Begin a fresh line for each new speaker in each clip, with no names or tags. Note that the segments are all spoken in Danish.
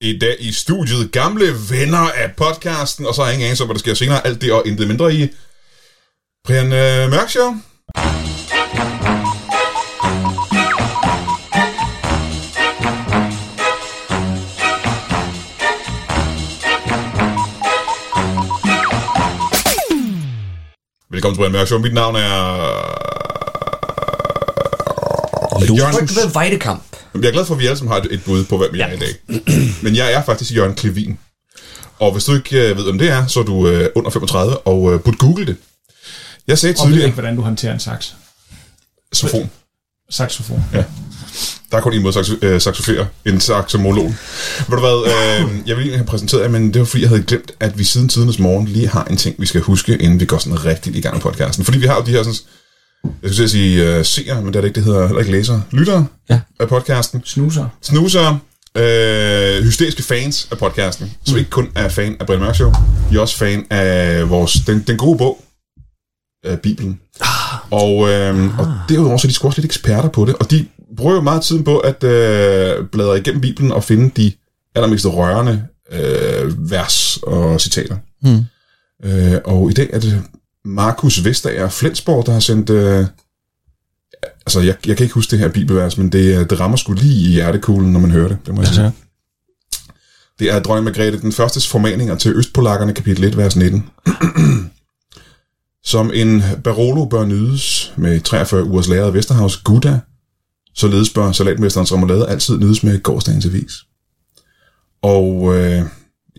I dag i studiet gamle venner af podcasten, og så har jeg ingen anelse om, hvad der sker senere. Alt det og intet mindre i Brian øh, Mørk Show. Velkommen til Brian Mørk Show. Mit navn er...
Ludwig ved Weidekamp.
Jamen, Jeg er glad for, at vi alle sammen har et- et bud på, hvem jeg ja. er i dag. Men jeg er faktisk Jørgen Klevin. Og hvis du ikke øh, ved, hvem det er, så er du øh, under 35 og øh, burde google det. Jeg sagde
Og ved
tidligere,
ikke, hvordan du håndterer en sax.
saxofon.
Saxofon.
Der er kun en måde at saxo- øh, saxofere, en saxomolog. Ved du hvad, øh, jeg ville egentlig have præsenteret jer, men det var fordi, jeg havde glemt, at vi siden tidernes morgen lige har en ting, vi skal huske, inden vi går sådan rigtigt i gang med podcasten. Fordi vi har jo de her sådan, jeg skulle til at sige øh, seere, men det er det ikke, det hedder heller ikke læsere, lyttere
Ja.
af podcasten.
Snuser.
snusere, øh, hysteriske fans af podcasten, som ikke kun er fan af Brian Mørk Show, I er også fan af vores, den, den gode bog, øh, Bibelen. Og, øh, og derudover så er de sgu også lidt eksperter på det, og de bruger jo meget tiden på at øh, bladre igennem Bibelen og finde de allermest rørende øh, vers og citater.
Hmm.
Øh, og i dag er det Markus Vestager Flensborg, der har sendt... Øh, altså, jeg, jeg kan ikke huske det her bibelvers, men det, øh, det rammer sgu lige i hjertekuglen, når man hører det. Det må jeg sige. Det er dronning Margrethe den første formaninger til Østpolakkerne, kapitel 1, vers 19. Som en Barolo bør nydes med 43 ugers læret Vesterhavs Gouda, således bør salatmesterens remoulade altid nydes med gårdsdagens avis. Og øh,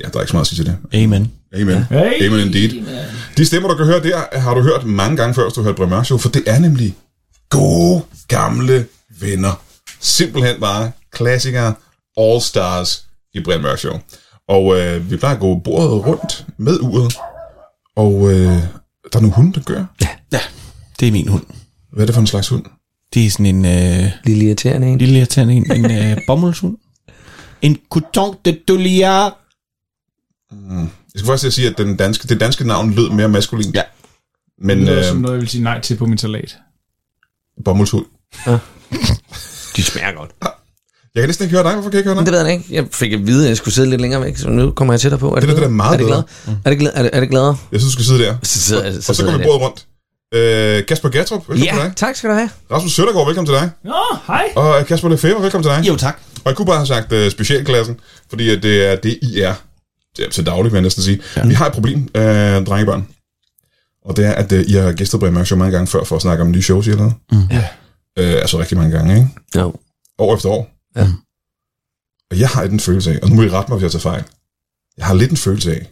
ja, der er ikke så meget at sige til det.
Amen.
Amen.
Hey!
Amen indeed. De stemmer, du kan høre der, har du hørt mange gange før, hvis du har hørt Bremer Show, for det er nemlig gode, gamle venner. Simpelthen bare klassikere, all stars i Brian Mørk Show. Og øh, vi plejer at gå bordet rundt med uret, og øh, der er nogle hunde, der gør.
Ja. ja. Det er min hund.
Hvad er det for en slags hund?
Det er sådan en øh,
Lille irriterende en.
lille irriterende en, en øh, bommelshund. En couton de Dulia.
Jeg skal faktisk til at sige, at den danske, det danske navn lød mere maskulin.
Ja.
Men
Det lyder
øhm,
som
øh,
noget, jeg vil sige nej til på min salat.
bommelshund.
De smager godt.
Jeg kan næsten ikke høre dig, hvorfor kan jeg ikke høre dig?
Det ved jeg da ikke. Jeg fik at vide, at jeg skulle sidde lidt længere væk, så nu kommer jeg tættere på. Er
Det er da- det er da
bedre?
meget
er det bedre? Er det, glad, er, det, er det gladere?
Jeg synes, du skal sidde der.
Så sidder, jeg- så
Og så
sidder
går vi
jeg
bordet rundt. Øh, Kasper Gertrup,
der.
velkommen til
Ja,
dig.
tak skal du have.
Rasmus Søndergaard, velkommen til dig.
Nå, hej!
Og øh, Kasper Lefebvre, velkommen til dig.
Jo tak.
Og jeg kunne bare have sagt uh, specialklassen, fordi at det er det, I er ja, til daglig, vil jeg næsten sige. Ja. Vi har et problem, uh, drengebørn. Og det er, at uh, I har gæstet Brian Mørk Show mange gange før for at snakke om nye shows, I har lavet. Mm.
Ja.
Uh, altså rigtig mange gange, ikke?
Jo.
År efter år.
Ja.
Og jeg har den følelse af, og nu må I rette mig, hvis jeg tager fejl. Jeg har lidt en følelse af,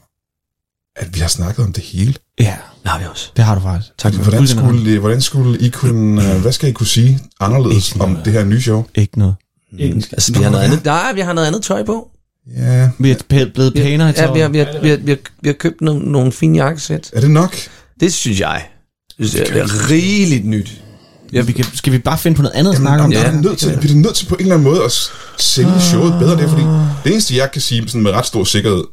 at vi har snakket om det hele.
Ja,
Det har vi også.
det har du faktisk. Tak for
Hvordan skulle, hvordan skulle I kunne, øh, hvad skal I kunne sige anderledes
Ikke
om
noget.
det her nye show?
Ikke noget.
Ikke
Altså, vi har noget andet. Nej, vi har noget andet tøj på.
Ja,
Vi er pæ- blevet pænere i
Ja, vi har, vi har,
Ja, det er
vi har, vi har, vi har købt nogle, nogle fine jakkesæt.
er det nok?
Det synes jeg. Det synes jeg det er rigeligt nyt.
Ja, vi kan, skal vi bare finde på noget andet at snakke om?
Jamen,
Ja.
ja, er
det.
det nødt til, vi er da nødt til på en eller anden måde at s- sælge showet bedre. Det er fordi, det eneste jeg kan sige sådan med ret stor sikkerhed,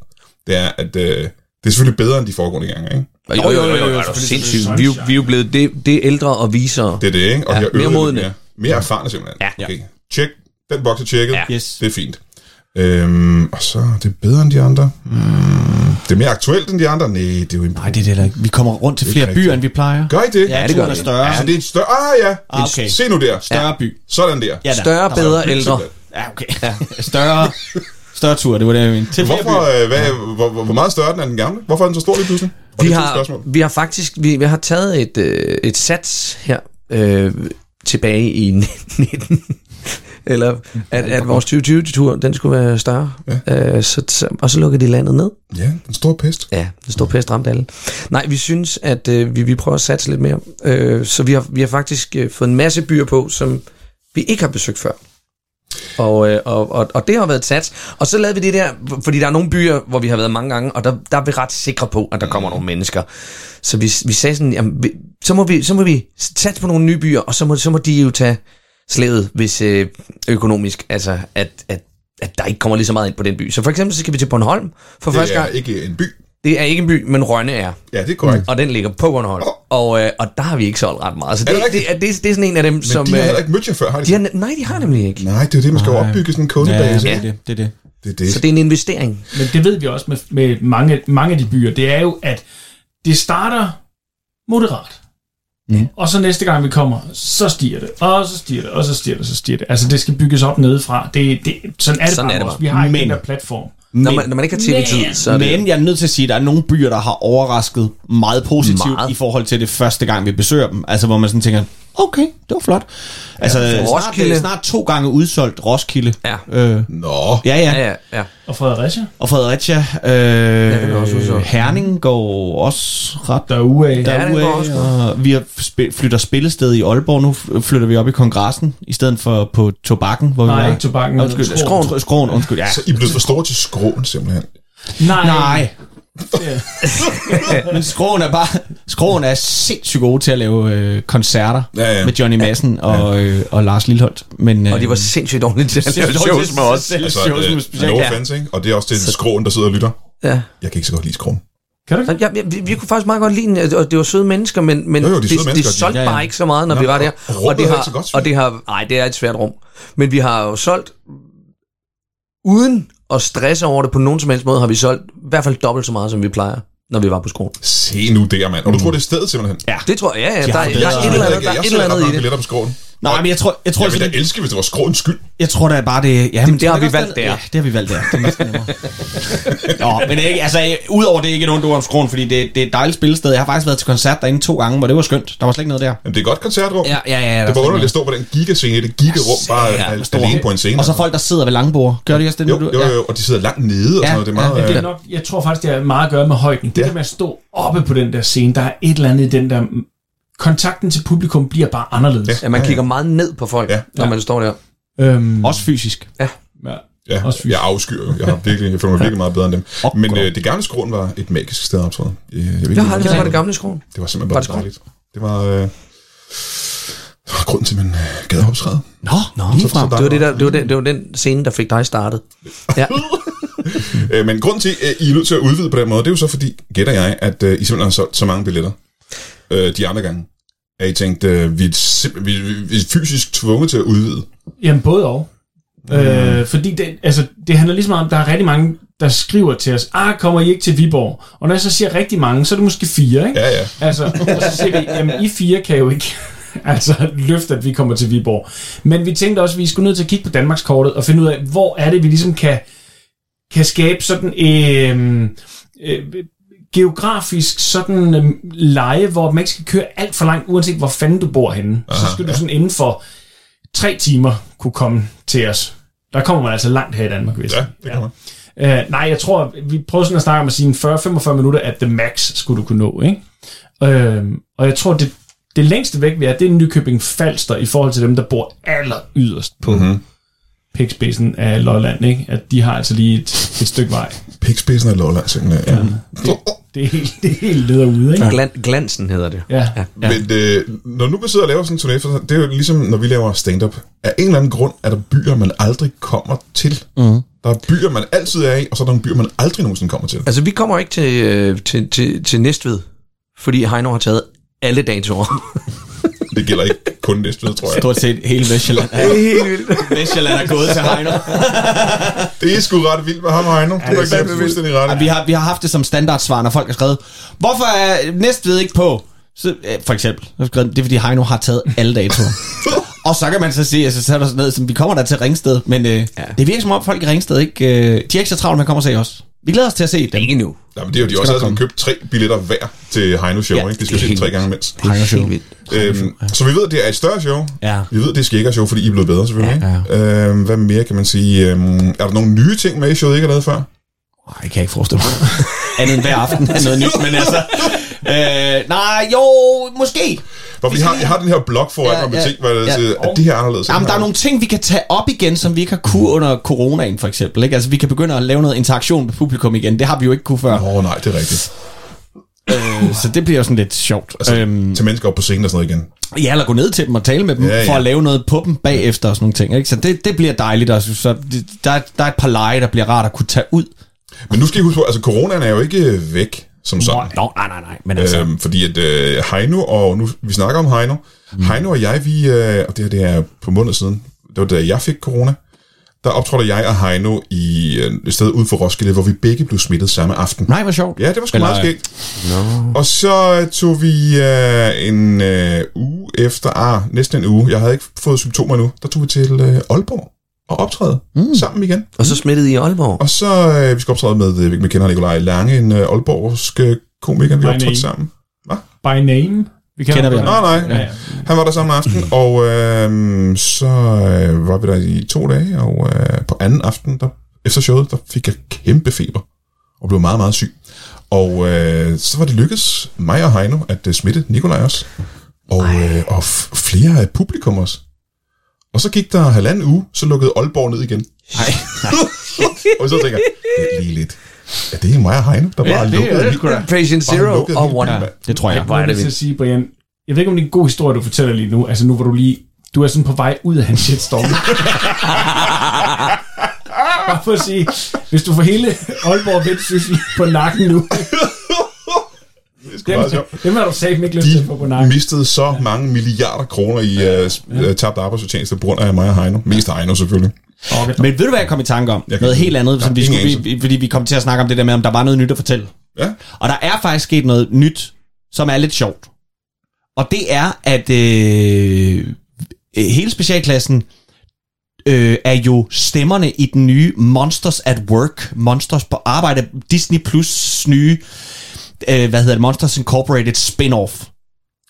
det er, at øh, det er selvfølgelig bedre end de foregående gange. Ikke?
Jo, jo, jo, jo, jo, jo sindssygt. Vi, er jo- vi er jo blevet det, det er ældre og visere.
Det er det, ikke? Og
Ja,
jeg øvede
mere
lidt
modne.
Mere, mere erfarne simpelthen.
Ja.
Okay. Check. Den boks er tjekket.
Ja.
Yes.
Det er fint. Øhm, og så er det bedre end de andre. Mm, det er mere aktuelt end de andre. Nej, det er jo en...
Nej, det er det heller ikke. Vi kommer rundt til flere
ikke
byer, end vi plejer.
Gør I det?
Ja, det
det gør
gør er
vi.
større.
Så det er en større... Ah ja!
Ah, okay.
Se nu der.
Større by.
Sådan der.
Ja, da.
Større,
Der var-
bedre, ældre.
Ja, okay. Større, større tur, det var det, jeg mente. Til flere
Hvorfor,
byer.
øh, hvad, hvor, hvor, hvor meget større er den end den gamle? Hvorfor er den så stor lige pludselig? Og
Vi
det er to
har,
spørgsmål.
vi har faktisk vi, vi har taget et, øh, et sats her øh, tilbage i 19. Eller at, at vores 2020-tur, den skulle være større. Ja. Øh, så, så, og så lukkede de landet ned.
Ja, den store pest.
Ja, det står pæst ramt alle. Nej, vi synes, at øh, vi, vi prøver at satse lidt mere. Øh, så vi har, vi har faktisk øh, fået en masse byer på, som vi ikke har besøgt før. Og, øh, og, og, og det har været et sats. Og så lavede vi det der, fordi der er nogle byer, hvor vi har været mange gange, og der, der er vi ret sikre på, at der kommer nogle mennesker. Så vi, vi sagde sådan, jamen, vi, så, må vi, så må vi satse på nogle nye byer, og så må, så må de jo tage slædet, hvis øh, økonomisk, altså at, at, at der ikke kommer lige så meget ind på den by. Så for eksempel så skal vi til Bornholm for
Det
første
er
gang.
ikke en by.
Det er ikke en by, men Rønne er.
Ja, det er korrekt.
Og den ligger på Bornholm. Og, øh, og der har vi ikke solgt ret meget. Så
Er
det,
det
det, det, er, det, er- det er sådan en af dem,
Men
som...
de har
øh,
heller ikke mødt jer før, har de?
de har, nej, de har nemlig ikke.
Nej, det er jo det, man skal
Nej.
opbygge sådan en
Ja,
kundebase.
det
Ja,
er det. det, er det.
Det er det.
Så det er en investering.
Men det ved vi også med, med mange, mange af de byer. Det er jo, at det starter moderat.
Mm.
Ja.
Og så næste gang vi kommer, så stiger det, og så stiger det, og så stiger det, så stiger det. Altså det skal bygges op nedefra. Det, det, sådan er det
Sådan
bare
er det
også.
bare.
Vi har ikke
Men-
den der platform.
Når man, når man ikke har tv-tid,
Men-
så er det...
Men jeg er nødt til at sige, at der er nogle byer, der har overrasket meget positivt
Meget.
meget. i forhold til det første gang, vi besøger dem. Altså, hvor man sådan tænker, okay, det var flot. Altså, ja, snart,
Roskilde.
det er snart to gange udsolgt Roskilde.
Ja.
Øh,
Nå,
ja, ja.
Ja, ja, ja.
Og Fredericia,
Og Fredericia.
den er også
Øh,
udsolgt.
Herning går også ret
der er uge af.
Ja, den går
derudad,
også godt.
og vi har sp- flytter spillested i Aalborg. Nu f- flytter vi op i kongressen, i stedet for på tobakken, hvor vi
Nej,
var.
ikke tobakken. men
Undskyld,
skroen.
skråen. skråen, undskyld, ja.
så I er blevet for store til skråen, simpelthen.
Nej.
Nej,
Ja.
men skråen er bare... Skråen er sindssygt gode til at lave øh, koncerter
Ja, ja.
med Johnny Madsen og, øh, og Lars Lilholdt. Men, øh,
Og de var sindssygt dårlige til at lave shows med os.
Altså,
Altså,
øh,
shows med specielt.
no
Ja.
offense, ikke? Og det er også til skråen, der sidder og lytter.
Ja.
Jeg kan ikke så godt lide skråen.
Kan du ikke?
Nå, Ja, vi, vi kunne faktisk meget godt lide den, og det var søde mennesker, men, men
Jo, jo, de er
det,
søde
det,
mennesker, de-
solgte
ja, ja.
bare ikke så meget, når
Nå,
vi var
og
der.
rummet
det
er
har,
ikke så godt, synes
og det har, nej, det er et svært rum. Men vi har jo solgt, uden at stresse over det på nogen som helst måde, har vi solgt i hvert fald dobbelt så meget, som vi plejer, når vi var på skolen.
Se nu der, mand. Og du tror, det er stedet, simpelthen? Ja,
Det tror jeg, Mm. ja, ja, der,
har
er- der
bedre-
er et eller andet, der er
jeg
et eller
sælger ret
andet
mange
i det.
billetter på skråen.
Nej, men jeg tror, jeg tror,
Jeg vil da
jeg,
elske, hvis det var skråens skyld.
jeg tror da bare, det... Ja, men
det har
er
vi
også
valgt,
den-
det er.
Ja, det har vi valgt, det er. Det er næsten nemmere. Nå, men det er ikke, altså, øh, udover det er ikke et ondt ord om skroen, fordi det, det er et dejligt spillested. Jeg har faktisk været til koncert derinde to gange, hvor det var skønt. Der var slet ikke noget der.
Jamen, det er et godt koncertrum.
Ja, ja, ja. der
Det
slet
var
ikke
underligt
noget.
at stå på den gigascene, det gigarum, bare
Ja,
al-
stor.
alene på en scene. altså.
Og så folk, der sidder ved langbord. Gør de også det?
Jo,
når du-
jo,
ja.
jo, og de sidder langt nede og sådan
Ja,
noget. Det er meget...
ja,
Det er
øh,
nok, jeg tror faktisk, det har meget at gøre med højden. Det
Ja.
ja. der med at stå oppe på den der scene, der er et eller andet i den der... Kontakten til publikum bliver bare anderledes.
Ja, man kigger meget ned på folk,
Ja.
når man står der.
Ja. Øhm,
Også fysisk.
ja.
Ja,
Også fysisk.
jeg afskyr. Jeg, har virkelig, jeg føler mig virkelig meget bedre end dem.
Åh,
Men
godt.
øh, det gamle skråen var et magisk sted at optræde. Jeg, jeg, ved ikke,
Jeg har aldrig
hvorfor.
været på det gamle skole.
Det var simpelthen
Var
bare
det
dejligt. Det var... Øh, det var grunden til, at man øh, gad at optræde.
Nå, Nå lige frem.
Det var, det, der, det, var den, det var den scene, der fik dig startet. Ja.
Øh, men grunden til, at I er nødt til at udvide på den måde, det er jo så fordi, gætter jeg, at øh, I simpelthen har solgt så mange billetter øh, de andre gange. At I tænkte, øh, vi, er simp- vi, vi, vi er fysisk tvunget til at udvide.
Jamen, både og. Øh, fordi det, altså, det handler ligesom om, at der er rigtig mange, der skriver til os, ah, kommer I ikke til Viborg? Og når jeg så siger rigtig mange, så er det måske fire, ikke?
Ja, ja.
Altså, og så siger vi, jamen, I fire kan jo ikke altså, løfte, at vi kommer til Viborg. Men vi tænkte også, at vi skulle nødt til at kigge på Danmarkskortet og finde ud af, hvor er det, vi ligesom kan, kan skabe sådan øh, øh, geografisk sådan øh, leje, hvor man ikke skal køre alt for langt, uanset hvor fanden du bor henne. Aha, så skal du sådan inden for tre timer kunne komme til os. Der kommer man altså langt her i Danmark, hvis
Ja, det kan man.
Øh, nej, jeg tror, vi prøvede sådan at snakke om at sige en 40-45 minutter at the max skulle du kunne nå, ikke? Øh, og jeg tror, det, det længste væk vi er, det er Nykøbing Falster i forhold til dem, der bor aller yderst på mm-hmm.
Mhm.
pikspidsen af Lolland, ikke? At de har altså lige et, et stykke vej.
Pikspidsen af Lolland, simpelthen. Ja.
Det er helt, det er helt leder ude, ikke?
Glan, glansen hedder det.
Ja. ja.
Ja. Men øh, når nu vi sidder og laver sådan en turné, for det er jo ligesom, når vi laver stand-up. Af en eller anden grund er der byer, man aldrig kommer til. Mm. Der er byer, man altid er i, og så er der nogle byer, man aldrig nogensinde kommer til.
Altså, vi kommer ikke til, øh, til, til, til Næstved, fordi Heino har taget alle datoer.
Det gælder ikke kun Næstved, tror jeg.
Stort set hele Vestjylland.
Det er helt vildt.
Vestjylland er gået til Heiner.
Det er sgu ret vildt med ham og Heino. Du
det er
er
fandme
fuldstændig ret.
Og vi, har, vi har haft det som standardsvar, når folk har skrevet, hvorfor er Næstved ikke på? Så, øh, for eksempel, så har jeg skrevet, det er fordi Heino har taget alle datoer. og så kan man så sige, altså, så er der sådan noget, som, vi kommer der til Ringsted, men øh, ja. det virker som om folk i Ringsted ikke, øh, de er ikke så travlt med at komme og se os. Vi glæder os til at se dem.
Ikke nu.
Nej, men det er jo de også
nok
havde som købt tre billetter hver til Heino Show, ja,
Ja,
ikke? De
det
skal
er
se
helt
tre gange imens.
Det er helt vildt.
Øhm, så vi ved, at det er et større show.
Ja.
Vi ved, at det er skækker show, fordi I er blevet bedre selvfølgelig. Ja, ja. Øhm, hvad mere kan man sige? Øhm, er der nogle nye ting med i showet, I ikke har lavet før?
Nej, det kan jeg ikke forestille mig. Andet end hver aften er noget nyt, men altså... Øh, nej, jo, måske.
Hvorfor, jeg, har, jeg har den her blog foran
Ja,
mig med
ja,
ting, hvor jeg
ja.
siger, at det her er anderledes.
Jamen, der er nogle ting, vi kan tage op igen, som vi ikke har kunne under coronaen, for eksempel. Ikke? Altså, vi kan begynde at lave noget interaktion med publikum igen. Det har vi jo ikke kunne før.
Åh oh, nej, det er rigtigt.
Øh, så det bliver jo sådan lidt sjovt.
Altså, øhm.
øhm,
til mennesker op på scenen og sådan noget igen.
ja, eller gå ned til dem og tale med dem,
Ja,
ja,
ja.
ja. for at lave noget på dem bagefter og sådan nogle ting. Ikke? Så det, det bliver dejligt. Også. Så det, der, er- der er et par lege, der bliver rart at kunne tage ud.
Men nu skal I huske på, altså coronaen er jo ikke øh, væk som sådan.
Nå, nej, nej, nej. Men altså,
Øhm, fordi at øh, Heino, og nu vi snakker om Heino, mm. Heino og jeg, vi, øh, og det her det er på måneder siden, det var da jeg fik corona, der optrådte jeg og Heino i øh, et sted ude for Roskilde, hvor vi begge blev smittet samme aften.
Nej, hvor sjovt.
Ja, det var sgu
Eller-
meget skægt. No. Og så øh, tog vi øh, en øh, uge efter, ah, næsten en uge, jeg havde ikke fået symptomer endnu, der tog vi til øh, Aalborg og optræde mm. sammen igen.
Og så smittede I i Aalborg.
Og så, øh, vi skal optræde med, øh, vi kender Nikolaj Lange, en øh, Aalborgsk øh, komiker, vi
Nej,
optrådte
nej.
sammen.
By name. Vi
Kender vi
ham.
Nej, nej.
Ja, ja.
Han var der samme aften, og øh, så øh, var vi der i to dage, og øh, på anden aften, der, efter showet, der fik jeg kæmpe feber, og blev meget, meget syg. Og øh, så var det lykkedes mig og Heino at øh, smitte Nikolaj også, og, øh, og f- flere af publikum også. Og så gik der halvanden uge, så lukkede Aalborg ned igen.
Nej,
Og så tænker jeg, "Det er lige lidt. Ja, det er mig og Heino, der bare ja, lukkede. helt-
Patient
bare
Zero
lukkede
og
helt-
One.
Ja.
det tror jeg.
Hvor er
Jeg
det
vil til at sige, Brian, jeg ved ikke, om det er en god historie, du fortæller lige nu. Altså nu, hvor du lige... Du er sådan på vej ud af hans shitstorm. Bare for at sige, hvis du får hele Aalborg Vendsyssel på nakken nu,
Det er sgu
dem,
meget sjovt.
dem har du sagt ikke lyst til at få på
De
nakken.
mistede så ja. mange milliarder kroner i ja. uh, tabt arbejdsfortjeneste på grund af mig og Heino. Mest Heino selvfølgelig.
Okay.
Men ved du, hvad jeg kom i tanke om?
Jeg kan
Noget
ikke-
helt andet, som
Ja,
vi
ingen
skulle, vi, fordi vi kom til at snakke om det der med, om der var noget nyt at fortælle.
Ja.
Og der er faktisk sket noget nyt, som er lidt sjovt. Og det er, at øh, hele specialklassen øh, er jo stemmerne i den nye Monsters at Work, Monsters på arbejde, Disney Plus nye, øh, hvad hedder det, Monsters Incorporated spin-off.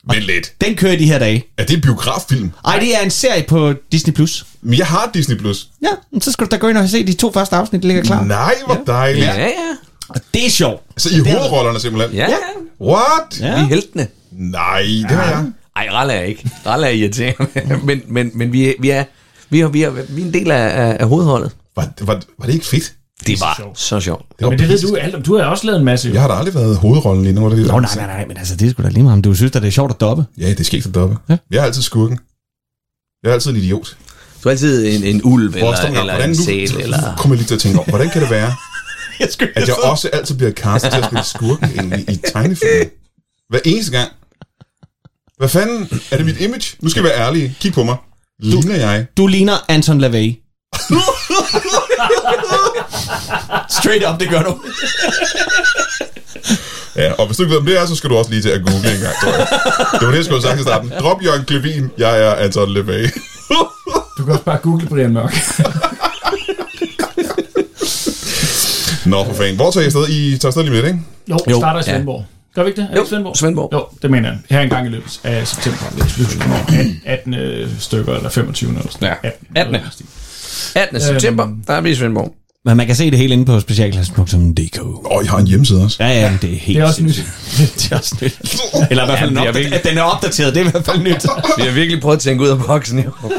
Men lidt.
Den kører i de her dage.
Er det en biograffilm?
Ej, det er en serie på Disney Plus.
Men jeg har Disney+. Plus.
Ja, men så skal du da gå ind og se de to første afsnit, der ligger klar.
Nej, hvor dejligt.
Ja, ja.
Og det er sjovt.
Altså i hovedrollerne simpelthen.
Ja, ja.
What?
Vi er heltene.
Nej, det har jeg.
Ej, Ralle er ikke. Ralle er irriterende. men, men, men vi, er- vi, er, vi, er, vi, er, vi er en del af, af, af hovedholdet.
Var, var, var det ikke fedt?
Det var så sjovt.
Det var
Men det ved du alt om. Du har også lavet en masse.
Jeg
Ja.
har da aldrig været hovedrollen lige nu. Det,
Nå, nej, nej, nej, men altså, det er sgu da lige meget, om du synes, at det er sjovt at doppe.
Ja, det skal ikke så doppe.
Ja.
Jeg er altid skurken. Jeg er altid en idiot.
Du er altid en, en ulv eller,
Forstår du,
eller en sæl. Eller...
Nu kommer jeg lige til at tænke om, hvordan kan det være,
Jeg skulle
at jeg også altid bliver castet til at spille skurken egentlig i tegnefilm. Hver eneste gang. Hvad fanden? Er det mit image? Nu skal jeg være ærlig. Kig på mig. Ligner jeg?
Du ligner Anton LaVey. Straight up, det gør du.
Ja, og hvis du ikke ved, om det er, så skal du også lige til at google en gang, tror jeg. Det var det, jeg skulle have sagt i starten. Drop Jørgen Klevin. Jeg er Anton LeVay.
Du kan også bare google Brian Mørk.
Nå, for fanden. Hvor tager I afsted? I tager afsted lige med det, ikke?
Jo,
Jo,
jo starter i
ja.
Svendborg. Ja. Gør vi ikke det? Er det
Jo,
ikke Svendborg?
Svendborg.
Jo, det mener jeg. Her en gang i løbet af september. Det er slut, hvornår? 18 øh, stykker, eller 25 eller sådan
Ja.
18.
18.. 18. september, der er vi i Svendborg.
Men man kan se det hele inde på specialklassen.dk.
Åh, oh, jeg har en hjemmeside også.
Ja, ja, men det er helt
Det er også nyt.
sindssygt. det er også nyt. Eller i hvert fald,
Jamen,
ja,
det er
den, opdater-
virkelig-
den er opdateret, det er i hvert fald nyt.
Vi har virkelig prøvet at tænke ud af boksen i år.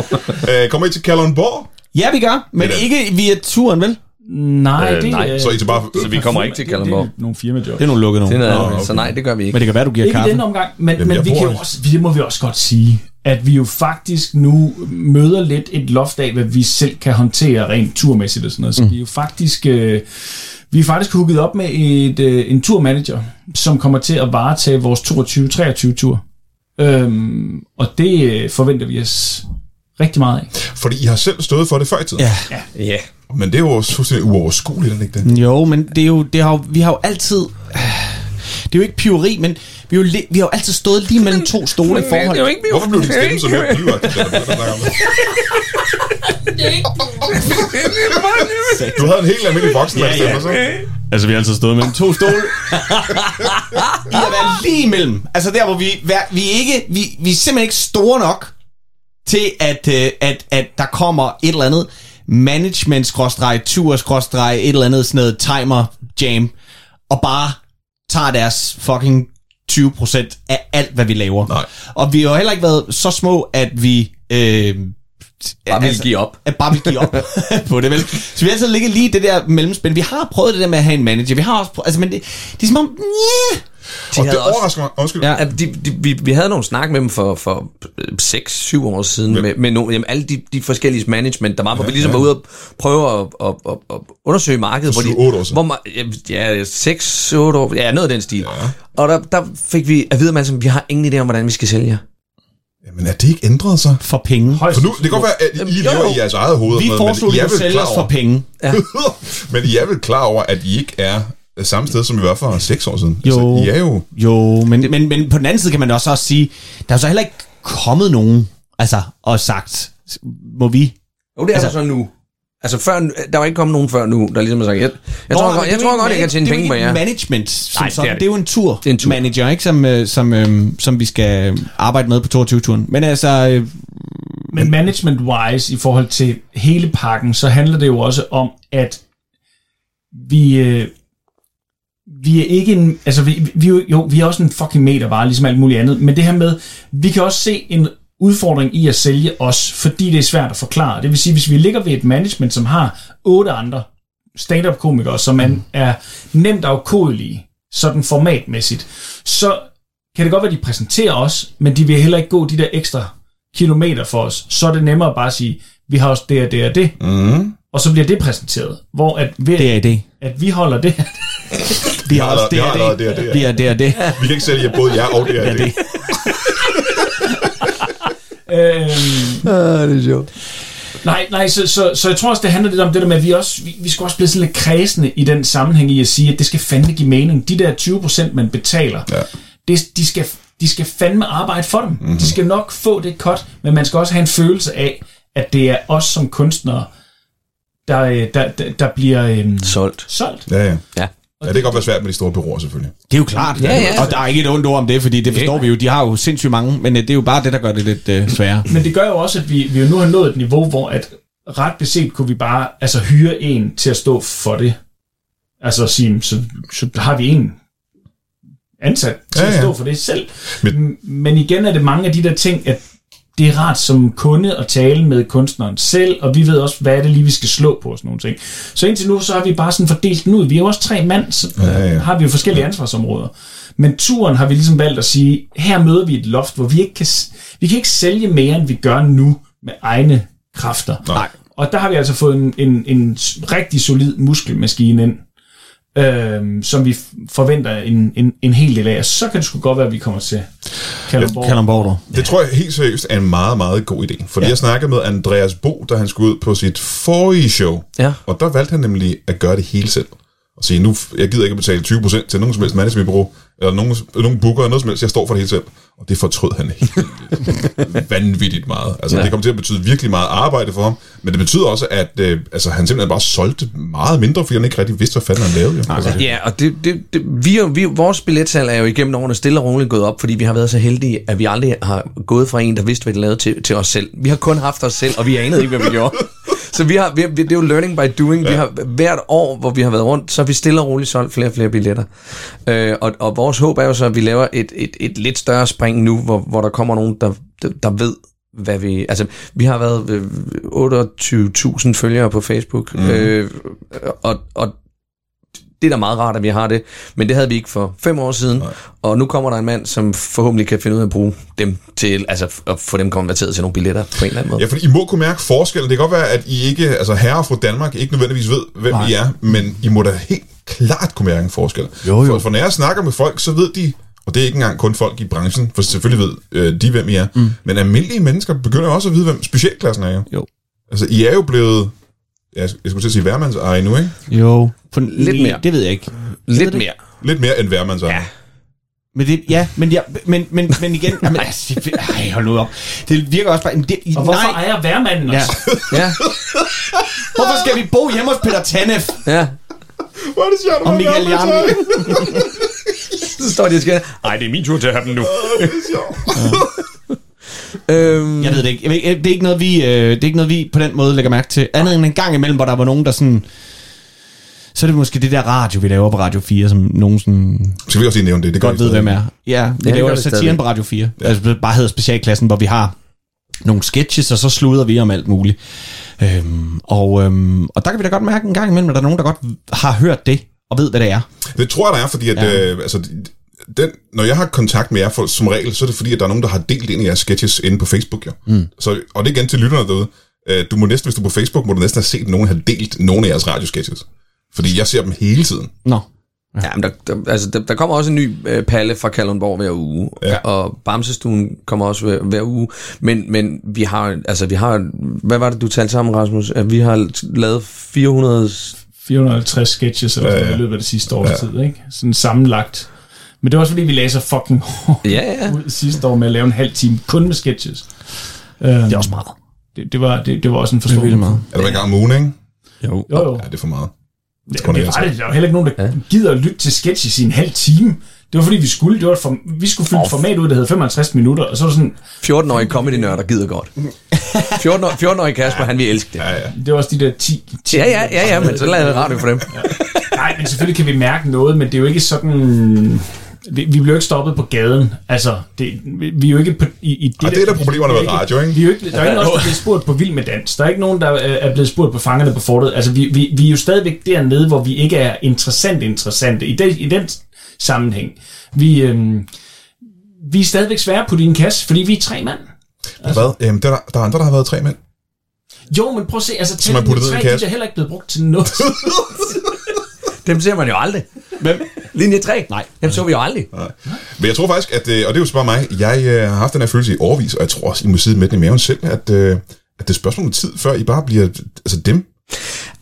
Øh, kommer I til Kalundborg?
ja, vi gør, men
Det er-
ikke via turen, vel?
Nej,
Øh,
det
nej.
er...
Så er I til bare...
Så vi kommer ikke til Kalundborg.
Det er nogle firmajob.
Det er nogle lukkede
Det er
nogen.
noget
Nå,
andet. Så
okay.
nej, det gør vi ikke.
Men det kan være, du giver
Ikke i
kaffe.
denne omgang, men,
Jamen,
men
jeg
vi
bor
kan jo
her.
også, vi, det må vi også godt sige, at vi jo faktisk nu møder lidt et loft af, hvad vi selv kan håndtere rent turmæssigt og sådan noget. Så mm. vi er jo faktisk... Øh, vi er faktisk hooket op med et, øh, en turmanager, som kommer til at varetage vores 22-23-tur. Øhm, og det øh, forventer vi os rigtig meget af.
Fordi I har selv stået for det før i tiden.
Ja.
Ja.
Men det er jo også fuldstændig uoverskueligt, er det ikke det?
Jo, men det er jo, det har jo, vi har jo altid... Det er jo ikke piveri, men vi, er jo, li- vi har jo altid stået lige mellem to stole i forhold.
Det er jo ikke vi.
Hvorfor blev din stemme så mere pivagtig, da du begyndte at snakke om det?
er
er
Du havde en helt almindelig voksen, der stemmer så.
Altså, vi har altid stået mellem to stole. vi har været lige imellem. Altså, der hvor vi, hver- vi, er ikke, vi, vi er simpelthen ikke store nok til, at, øh, at, at der kommer et eller andet management tur et eller andet sådan noget timer jam, og bare tager deres fucking 20% af alt, hvad vi laver.
Nej.
Og vi har jo heller ikke været så små, at vi... Øh,
Bare
Altså,
ville give op.
at bare vil give op på det, vel? Så vi har altid ligget lige i det der mellemspænd. Vi har prøvet det der med at have en manager. Vi har også prøvet, altså, men det, det er som om, yeah.
Og
havde
det
også-
overrasker mig. Undskyld.
Ja.
At de, de, vi, vi havde nogle snak med dem for, for 6-7 år siden, med, med nogle, jamen, alle de, de forskellige management, der var, hvor vi ligesom var ude og prøve at, at, at, at undersøge markedet.
For
hvor de-
syv, otte år siden.
Hvor man, ja, 6-8 år, ja, noget af den stil. Ja. Og der, der fik vi at vide, at man, vi har ingen idé om, hvordan vi skal sælge jer.
Jamen, er det ikke ændret sig?
for penge.
Højst
For nu, det kan godt være, at I
Jamen, jo,
lever
jo.
i jeres eget hoved. og
Vi
sådan noget, men
foreslog,
I
at
er
du
vel
sælger
klar
os for
over-
penge.
men I er vel klar over, at I ikke er samme sted, som I var for seks år siden?
Jo.
Altså, I er jo...
Jo, men, men, men på den anden side kan man også, også sige, der er jo så heller ikke kommet nogen, altså, og sagt, må vi?
Jo, det er
Altså-
altså, så nu. Altså, før, der var ikke kommet nogen før nu, der ligesom har sagt, jeg, jeg, Nå, tror,
men
godt,
det
jeg
er
tror
jo
godt,
ikke
jeg kan tjene
manage-
penge på jer.
Det er jo ikke management, som
Nej, det er
sådan.
det
det er jo en tur,
er en tur.
manager, ikke? Som, øh, som, øh, som vi skal arbejde med på 22-turen. Men altså, øh,
Men management-wise, i forhold til hele pakken, så handler det jo også om, at vi, øh, vi er ikke en... Altså, vi, vi, er jo- jo, vi er også en fucking meter bare, ligesom alt muligt andet. Men det her med, vi kan også se en udfordring i at sælge os, fordi det er svært at forklare. Det vil sige, hvis vi ligger ved et management, som har otte andre stand-up-komikere, som man er nemt afkodelige, sådan formatmæssigt, så kan det godt være, de præsenterer os, men de vil heller ikke gå de der ekstra kilometer for os, så er det nemmere bare at sige, vi har også det og det og det,
Mm.
og så bliver det præsenteret. Hvor at, ved,
det er det.
at vi holder det her,
Vi
har
har også
allerede- vi
det
har
og
allerede det
det.
og det.
Vi har det og det.
Vi kan ikke sælge jer både jer og det.
Ja,
her.
det.
øhm,
Ah, det er sjovt.
nej, nej, så, så, så jeg tror også, det handler lidt om det der med, at vi, også, vi, vi skal også blive sådan lidt kredsende i den sammenhæng i at sige, at det skal fandme give mening. De der 20%, man betaler,
Ja.
det, de, skal, de skal fandme arbejde for dem.
Mhm.
Mm-hmm. De skal nok få det cut, men man skal også have en følelse af, at det er os som kunstnere, der, øh, der, der, der bliver øhm,
Solgt.
solgt.
Ja, ja.
Ja.
Ja, det kan godt være svært med de store bureauer, selvfølgelig.
Det er jo klart.
Ja, ja.
Og der er ikke et ondt ord om det, fordi det forstår vi jo. De har jo sindssygt mange, men øh, det er jo bare det, der gør det lidt øh, sværere.
Men det gør jo også, at vi, vi jo nu har nået et niveau, hvor at ret beset kunne vi bare altså, hyre en til at stå for det. Altså at sige, så, så har vi en ansat til
Ja,
ja, ja.
ja.
at stå for det selv.
Men-
Men, Men igen er det mange af de der ting, at det er rart som kunde at tale med kunstneren selv, og vi ved også, hvad er det lige, vi skal slå på og sådan nogle ting. Så indtil nu, så har vi bare sådan fordelt den ud. Vi er jo også tre mand, så
Ja,
ja,
ja.
ja. har vi jo forskellige ansvarsområder. Men turen har vi ligesom valgt at sige, her møder vi et loft, hvor vi ikke kan, s- vi kan ikke sælge mere, end vi gør nu med egne kræfter.
Nej.
Og der har vi altså fået en, en, en s- rigtig solid muskelmaskine ind, øhm, som vi f- forventer en, en, en hel del af. Og så kan det sgu godt være, at vi kommer til Kalundborg.
Kalundborg, du.
Det tror jeg helt seriøst er en meget, meget god idé. Fordi ja. jeg snakkede med Andreas Bo, da han skulle ud på sit forrige show.
Ja.
Og der valgte han nemlig at gøre det hele selv. Og sige, nu, f- jeg gider ikke at betale 20% til nogen som helst managementbureau, eller nogen, nogen booker, eller noget som helst, jeg står for det hele selv. Og det fortrød han helt vanvittigt meget. Altså, ja. det kom til at betyde virkelig meget arbejde for ham, men det betyder også, at øh, altså, han simpelthen bare solgte meget mindre, fordi han ikke rigtig vidste, hvad fanden han lavede. Nej, altså,
Ja, og det, det, det, vi, er- vi, vores billetsal er jo igennem årene stille og roligt gået op, fordi vi har været så heldige, at vi aldrig har gået fra en, der vidste, hvad de lavede, til, til os selv. Vi har kun haft os selv, og vi anede ikke, hvad vi gjorde. Så vi har, vi, vi- det er jo learning by doing. Ja. Vi har hvert år, hvor vi har været rundt, så har vi stille og roligt solgt flere og flere billetter. Øh, og, og vores håb er jo så, at vi laver et, et, et lidt større spring nu, hvor, hvor der kommer nogen, der, der, der ved, hvad vi... Altså, vi har været øh, 28.000 følgere på Facebook, mm. øh, og, og det er da meget rart, at vi har det, men det havde vi ikke for fem år siden, Nej. og nu kommer der en mand, som forhåbentlig kan finde ud af at bruge dem til, altså at få dem konverteret til nogle billetter på en eller anden måde.
Ja, fordi I må kunne mærke forskellen. Det kan godt være, at I ikke, altså herre fra Danmark, ikke nødvendigvis ved, hvem Nej. I er, men I må da helt klart kunne mærke en forskel. Jo, jo. For, for når jeg snakker med folk, så ved de, og det er ikke engang kun folk i branchen, for selvfølgelig ved øh, de, hvem I er, mm. men almindelige mennesker begynder også at vide, hvem specialklassen er jo.
Jo.
Altså, I er jo blevet, ja, jeg skulle til at sige værmandseje nu, ikke?
Jo. På, lidt
mere.
Det ved jeg ikke.
Lidt mere.
Lidt mere end værmandseje. Ja.
Men det, ja, men, ja, men, men, men igen, jamen, altså, det, ej, hold nu op. Det virker også bare, jamen, det,
Og hvorfor Nej. ejer værmanden os?
Ja.
Ja,
Hvorfor skal vi bo hjemme hos Peter Tanef?
ja.
Hvor er det sjovt, at
Og
være
Michael
værmandseje.
Jarm.
Så står de og skal, ej, det er min tur til at have dem nu.
Det er sjovt.
Øhm,
Jeg ved det ikke. Jeg ved, ikke, det, er ikke noget, vi, øh, det er ikke noget, vi på den måde lægger mærke til. Andet end en gang imellem, hvor der var nogen, der sådan... Så er det måske det der radio, vi laver på Radio 4, som nogen sådan
Skal vi også lige nævne det? Det gør
godt
I
ved,
stadig.
hvem er. Ja, vi
det
ja,
gør
laver
vi
satiren
stadig.
på Radio 4. Ja. Altså, det bare hedder specialklassen, hvor vi har nogle sketches, og så sluder vi om alt muligt. Øhm, og, øhm, og der kan vi da godt mærke en gang imellem, at der er nogen, der godt har hørt det, og ved, hvad det er.
Det tror jeg, der er, fordi at,
Ja.
ja. øh, altså, den, når jeg har kontakt med jer for, som regel, så er det fordi, at der er nogen, der har delt en af jeres sketches inde på Facebook. Jo. Mm. Så, og det er igen til lytterne derude. Øh, Du må næsten, hvis du er på Facebook, må du næsten have set, at nogen har delt nogle af jeres radiosketches. Fordi jeg ser dem hele tiden.
Nå.
Ja, men der, der, altså, der, der kommer også en ny øh, palle fra Kalundborg hver uge, ja. og Bamsestuen kommer også hver, hver uge, men, men vi har, altså vi har, hvad var det, du talte sammen, Rasmus? At vi har lavet 400,
450 sketches eller sådan noget i løbet af det sidste års ja. tid, ikke? Sådan sammenlagt. Men det var også fordi, vi lagde så fucking hårdt
Ja, ja.
ud sidste år med at lave en halv time kun med sketches. Det
Det er også meget.
Det, det, var, det, det var også en forståelse.
Er du en gang om ugen, ikke?
Jo.
Jo, jo.
Ja, det er for meget.
Det,
kunne
det
jeg
var
altså.
det. Der var heller ikke nogen, der gider at lytte til sketches i en halv time. Det var fordi, vi skulle. Det var et form- vi skulle fylde et format ud, der hed 55 minutter, og så var det sådan,
14-årige comedy-nørder gider godt. 14-årige 14-årige Kasper, han vil elske det.
Ja, ja.
det var også de der 10. 10
Ja, ja, ja, ja, men så lader jeg radio for dem.
Nej, men selvfølgelig kan vi mærke noget, men det er jo ikke sådan... Vi, vi bliver jo ikke stoppet på gaden. Altså, det, vi vi er jo ikke på, i, i det,
Og det er der problemerne med radio, ikke?
Vi er jo ikke, der er jo ikke nogen, der er blevet spurgt på Vild med Dans. Der er ikke nogen, der øh, er blevet spurgt på Fangerne på Fortet. Altså, vi, vi, vi er jo stadigvæk dernede, hvor vi ikke er interessant interessante i, den, i den sammenhæng. Vi, øhm, vi er stadigvæk svære på din kasse, fordi vi er tre mand.
Hvad? Øhm, der, der er andre, der har været tre mænd.
Jo, men prøv at se, altså
er
tællingen
puttet ned i en
tre, de er
kasse.
da heller ikke blevet brugt til noget.
Dem ser man jo aldrig. Hvem? Linje 3?
Nej.
Dem så vi jo aldrig.
Men jeg tror faktisk, at, øh, og det er jo så bare mig, jeg øh, har haft den her følelse i overvis, og jeg tror også, I må sidde med den i maven selv, at, øh, at det er et spørgsmål om tid, før I bare bliver, altså dem,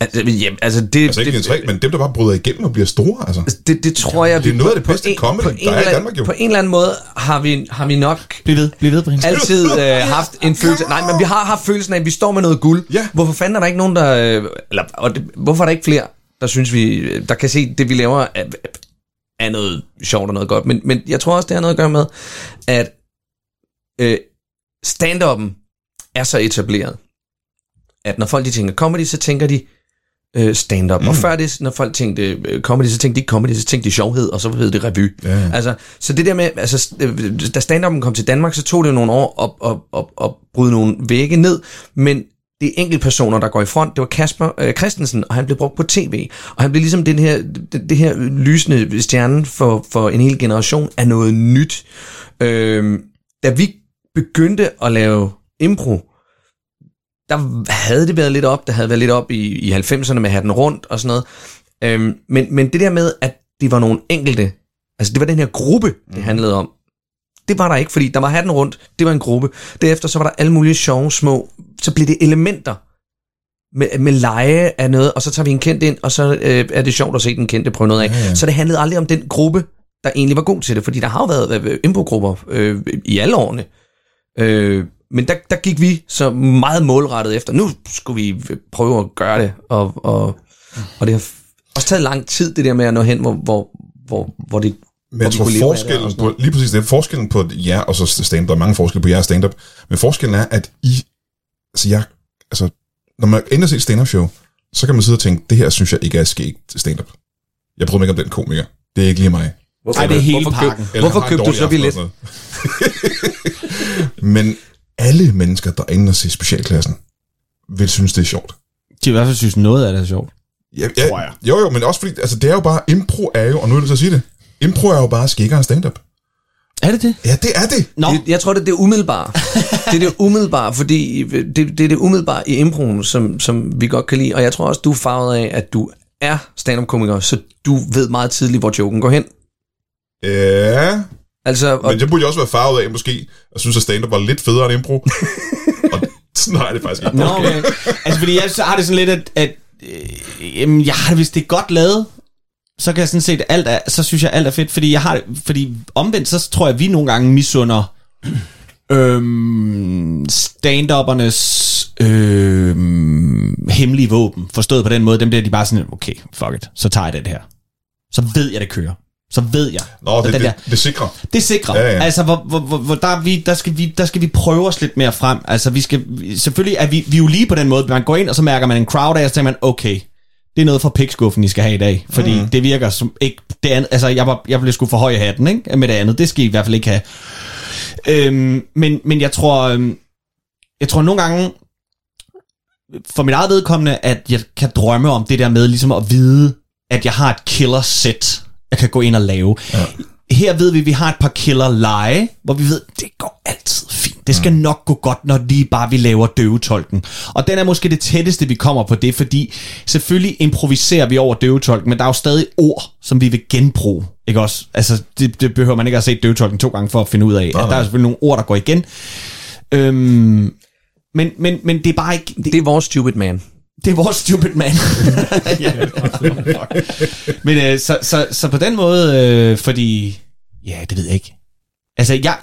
Altså, jamen, altså det,
altså ikke
det,
de tre, men dem, der bare bryder igennem og bliver store, altså.
det, det tror jeg...
det er
vi-
noget af
på-
det
på
bedste
en-
comedy,
på
der
en
er i
eller anden-
Danmark jo.
På en eller anden måde har vi, har vi nok
Bliv ved, bliv ved, Brian.
altid øh, haft en følelse... Nej, men vi har haft følelsen af, at vi står med noget guld.
Ja.
Hvorfor fanden er der ikke nogen, der... øh, Eller, og det, hvorfor er der ikke flere, der synes vi... øh, Der kan se, det vi laver er, er noget sjovt og noget godt. Men, men jeg tror også, det har noget at gøre med, at øh, stand-up'en er så etableret, at når folk de tænker comedy, så tænker de øh, stand-up. Mm. Og før det, når folk tænkte øh, comedy, så tænkte de ikke comedy, så tænkte de sjovhed, og så hed det revy.
Ja.
Altså, så det der med, altså, s- øh, da stand-up'en kom til Danmark, så tog det jo nogle år at, at, at, at bryde nogle vægge ned, men det er enkeltpersoner, der går i front. Det var Kasper øh, Christensen, og han blev brugt på tv. Og han blev ligesom den her, det, det her lysende stjerne for, for en hel generation af noget nyt. Øh, da vi begyndte at lave impro, der havde det været lidt op, der havde været lidt op i, i 90'erne med hatten rundt og sådan noget. Øhm, men, men det der med, at det var nogle enkelte, altså det var den her gruppe, det handlede om, det var der ikke, fordi der var hatten rundt, det var en gruppe. Derefter så var der alle mulige sjove små, så blev det elementer med, med leje af noget, og så tager vi en kendt ind, og så øh, er det sjovt at se den kendte prøve noget af. Ja, ja. Så det handlede aldrig om den gruppe, der egentlig var god til det, fordi der har jo været øh, improgrupper øh, i alle årene. Øh, men der, der gik vi så meget målrettet efter. Nu skulle vi prøve at gøre det, og, og, og det har f- også taget lang tid, det der med at nå hen, hvor, hvor, hvor, hvor det...
Men jeg
vi
tror
kunne leve af det og
forskellen
sådan
på, lige præcis det, forskellen på jer og så stand der er mange forskelle på jer og stand-up, men forskellen er, at I, altså jeg, altså, når man ender set stand-up show, så kan man sidde og tænke, det her synes jeg ikke er sket stand-up. Jeg prøver mig ikke om den komiker. Det er ikke lige mig.
Hvorfor,
Ej, det er hele
hvorfor køb-
pakken.
Hvorfor
har en
købte du
dårlig
så
aften
billet?
og sådan noget. men alle mennesker, der ender og se specialklassen, vil synes, det er sjovt.
De i hvert fald synes noget af det er sjovt.
Ja, ja,
Tror jeg.
Jo, jo, men også fordi, altså det er jo bare, impro er jo, og nu er det så at sige det, impro er jo bare skikker en stand-up.
Er det det?
Ja, det er det.
Nå,
Jeg, jeg tror, det er det umiddelbare. Det er det umiddelbare, fordi det, det er det umiddelbare i improen, som, som vi godt kan lide. Og jeg tror også, du er farvet af, at du er stand-up-komiker, så du ved meget tidligt, hvor joken går hen.
Ja,
Altså, og,
men jeg burde jo også være farvet af, måske, at synes, at stand-up var lidt federe end impro. og sådan har jeg det faktisk ikke.
Nå, okay. altså, fordi jeg så har det sådan lidt, at, at øh, jamen, jeg har det, hvis det er godt lavet, så kan jeg sådan set alt er, så synes jeg alt er fedt, fordi jeg har det, fordi omvendt, så tror jeg, at vi nogle gange misunder øhm, stand-uppernes øhm, hemmelige våben, forstået på den måde, dem der, de bare sådan, okay, fuck it, så tager jeg den her. Så ved jeg, det kører. Så ved jeg.
Nå, det,
den der.
det, det sikrer.
Det er sikre.
Ja,
Ja,
ja.
ja. Altså, hvor, hvor, hvor, hvor der, er vi, der, skal vi, der skal vi prøve os lidt mere frem. Altså, vi skal, vi- selvfølgelig er vi, vi er jo lige på den måde, man går ind, og så mærker man en crowd af, og så tænker man, okay, det er noget fra pikskuffen, I skal have i dag. Fordi mm. det virker som ikke... Det andet, altså, jeg, var, jeg blev sgu for høj i hatten, ikke? Med det andet. Det skal I i hvert fald ikke have. Øhm, men, men jeg tror... Øhm, jeg tror nogle gange, for mit eget vedkommende, at jeg kan drømme om det der med ligesom at vide, at jeg har et killer set, jeg kan gå ind og lave. Ja. Her ved vi, at vi har et par killer lege, hvor vi ved, det går altid fint. Det skal nok gå godt, når lige bare vi laver døvetolken. Og den er måske det tætteste, vi kommer på det, fordi selvfølgelig improviserer vi over døvetolken, men der er jo stadig ord, som vi vil genbruge. Ikke også? Altså, det, det behøver man ikke at se døvetolken to gange for at finde ud af.
Nej,
at der er
nej.
selvfølgelig nogle ord, der går igen. Øhm, men, men, men det er bare ikke... Det,
Det er vores stupid man.
det er vores stupid man. ja. Fuck. Men øh, så, så, så på den måde, øh, fordi... Ja, det ved jeg ikke. Altså, jeg,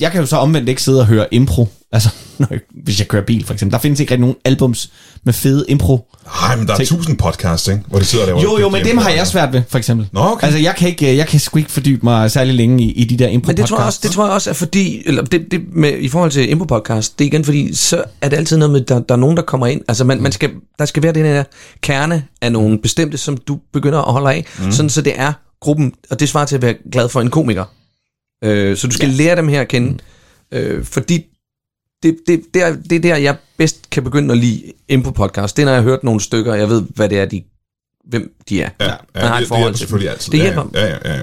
jeg kan jo så omvendt ikke sidde og høre impro. Altså, når jeg, hvis jeg kører bil, for eksempel. Der findes ikke rigtig nogen albums med fede impro.
Nej, men der er
Tænk-
tusind podcasts, ikke? Hvor de sidder og laver...
Jo, jo, men dem har jeg svært ved, for eksempel.
Nå, okay.
Altså, jeg kan, ikke, øh, jeg kan sgu ikke fordybe mig særlig længe i, i de der impro
Men det tror, jeg også, det tror jeg også er fordi, eller det, det med, i forhold til Impro-podcast, det er igen fordi, så er det altid noget med, der, der er nogen, der kommer ind. Altså man, man skal, der skal være den her kerne af nogle bestemte, som du begynder at holde af, mm. sådan så det er gruppen, og det svarer til at være glad for en komiker. Øh, så du skal ja. lære dem her at kende, øh, fordi det, det, det, er, det er der, jeg bedst kan begynde at lide Impro-podcast. Det er, når jeg har hørt nogle stykker, og jeg ved, hvad det er, de, hvem de er.
Ja,
Man
ja,
har
det,
et
det
forhold
hjælper
til
selvfølgelig
dem.
altid.
Det
Ja,
hjælper.
Ja, ja, ja. ja.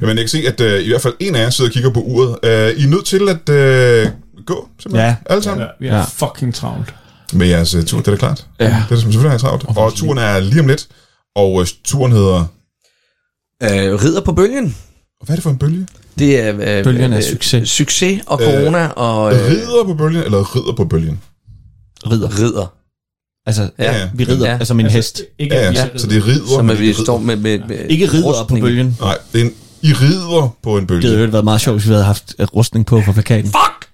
Mm. Men jeg kan se, at øh, i hvert fald en af jer sidder og kigger på uret. Øh, I er nødt til at øh, gå, simpelthen.
Ja.
Ja. Alle sammen.
Ja, vi er
Ja.
fucking travlt.
Med jeres øh, tur, det er da klart. Ja. Det er da selvfølgelig jeg travlt. Og turen er lige om lidt. Og øh, turen hedder...
Øh, ridder på bølgen.
Hvad er det for en bølge?
Det er øh,
Bølgen af succes.
Succes og corona øh, og øh,
Ridder på bølgen, eller ridder på bølgen?
Ridder.
ridder.
Altså,
Ja,
ja.
vi rider,
Ja.
altså min hest.
Ikke
Ja,
at
ja,
vi
ja.
sidder-
så det er ridder.
Som
men
at
det
vi
er rid-
står med, med, med
Ikke ridder på
rustninger.
bølgen.
Nej, det er en, I rider på en bølge.
Det havde jo været meget sjovt, hvis vi havde haft øh, rustning på for plakaten.
Fuck!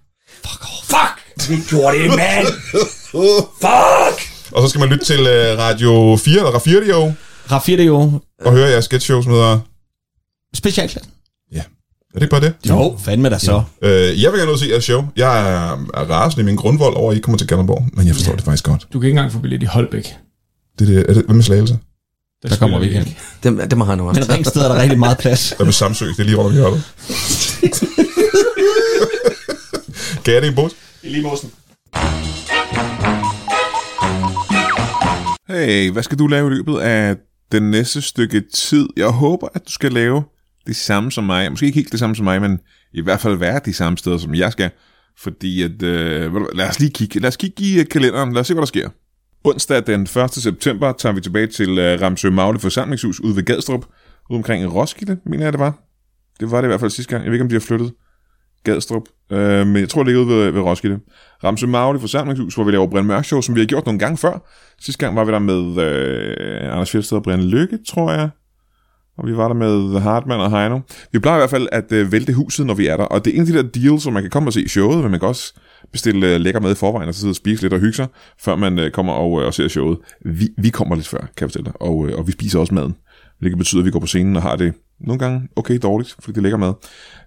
Fuck! Vi gjorde det, mand! Fuck!
Og så skal man lytte til øh, Radio 4, eller Radio
Rafir, det er jo
og høre jeres sketch show, som hedder...
specialklassen.
Er det ikke bare det?
Jo, fandme da så.
Øh, jeg vil gerne ud og se jeres show. Jeg er, er rasende i min grundvold over, at I ikke kommer til Gallenborg, men jeg forstår ja. det faktisk godt.
Du kan ikke engang få billet i Holbæk.
Det, er det, er det, hvad med Slagelse?
Der
spiller
kommer vi ikke hen.
ikke.
Dem, dem har han nu
Men
også.
Ringsted er der rigtig meget plads.
Hvad med Samsø? Det er lige rundt om hjørnet. kan jeg det i en båd?
Hey, hvad skal du lave i løbet af den næste stykke tid? Jeg håber, at du skal lave det samme som mig. Måske ikke helt det samme som mig, men i hvert fald være de samme steder, som jeg skal. Fordi at, øh, ved du hvad, lad os lige kigge. Lad os kigge i øh, kalenderen. Lad os se, hvad der sker. Onsdag den 1. september tager vi tilbage til øh, Ramsø Magle forsamlingshus ude ved Gadstrup. Ude omkring Roskilde, mener jeg det var. Det var det i hvert fald sidste gang. Jeg ved ikke, om de har flyttet. Gadstrup. Øh, men jeg tror, det ligger ude ved, ved Roskilde. Ramse Magle forsamlingshus, hvor vi laver Brian Mørk Show, som vi har gjort nogle gange før. Sidste gang var vi der med øh, Anders Fjeldsted og Brian Lykke, tror jeg. Og vi var der med Hartmann og Heino. Vi plejer i hvert fald at øh, vælte huset, når vi er der. Og det er en af de der deals, hvor man kan komme og se showet, men man kan også bestille øh, lækker med i forvejen, og så sidde og spise lidt og hygge sig, før man øh, kommer og, øh, og ser showet. Vi, vi kommer lidt før, kan jeg fortælle dig. Og, øh, og vi spiser også maden. Hvilket betyder, at vi går på scenen og har det nogle gange okay dårligt, fordi det lækker mad.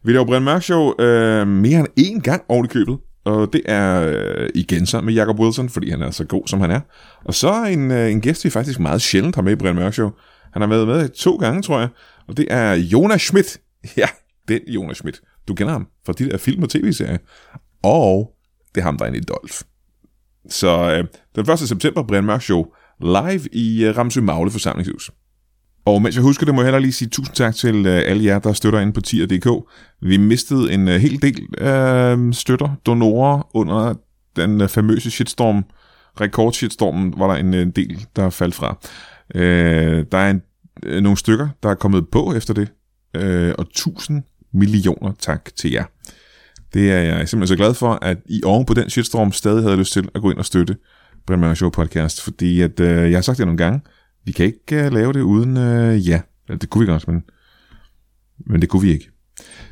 Vi laver Brian Mørk Show øh, mere end én gang oven i købet. Og det er øh, igen sammen med Jacob Wilson, fordi han er så god, som han er. Og så er en, øh, en gæst, vi faktisk meget sjældent har med i Brian Mørk Show. Han har været med to gange, tror jeg. Og det er Jonas Schmidt. Ja, den Jonas Schmidt. Du kender ham fra de der film og tv-serier. Og det er ham, der er inde i Dolph. Så øh, den 1. september, Brian Mørk Show live i øh, Ramsø Magle forsamlingshus. Og mens jeg husker det, må jeg heller lige sige tusind tak til øh, alle jer, der støtter ind på tier.dk. Vi mistede en øh, hel del øh, støtter, donorer under den øh, famøse shitstorm, rekordshitstormen, var der en øh, del, der faldt fra. Øh, der er en, øh, nogle stykker, der er kommet på efter det, øh, og tusind millioner tak til jer. Det er jeg simpelthen så glad for, at I oven på den shitstorm stadig havde lyst til at gå ind og støtte Brian Mørk Show podcast, fordi at, øh, jeg har sagt det nogle gange, vi kan ikke øh, lave det uden øh, ja. Eller, det kunne vi godt, men, men det kunne vi ikke.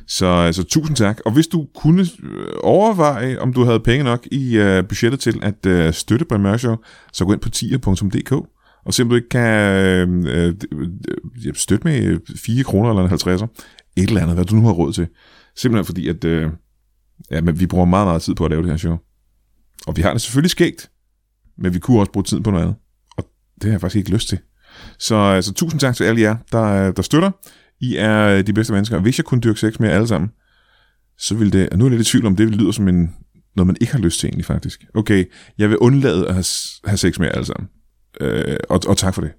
Så altså, tusind tak. Og hvis du kunne øh, overveje, om du havde penge nok i øh, budgettet til at øh, støtte Brian Mørk Show, så gå ind på tier.dk og se om du ikke kan øh, øh, øh, støtte med øh, 4 kroner eller en 50'er. Et eller andet, hvad du nu har råd til. Simpelthen fordi, at øh, ja, men vi bruger meget, meget tid på at lave det her show. Og vi har det selvfølgelig skægt, men vi kunne også bruge tiden på noget andet. Og det har jeg faktisk ikke lyst til. Så altså, tusind tak til alle jer, der, der støtter. I er øh, de bedste mennesker. Hvis jeg kunne dyrke sex med jer alle sammen, så ville det... Og nu er jeg lidt i tvivl om, det lyder som en, noget, man ikke har lyst til egentlig faktisk. Okay, jeg vil undlade at have, have sex med jer alle sammen. Øh, og, og tak for det.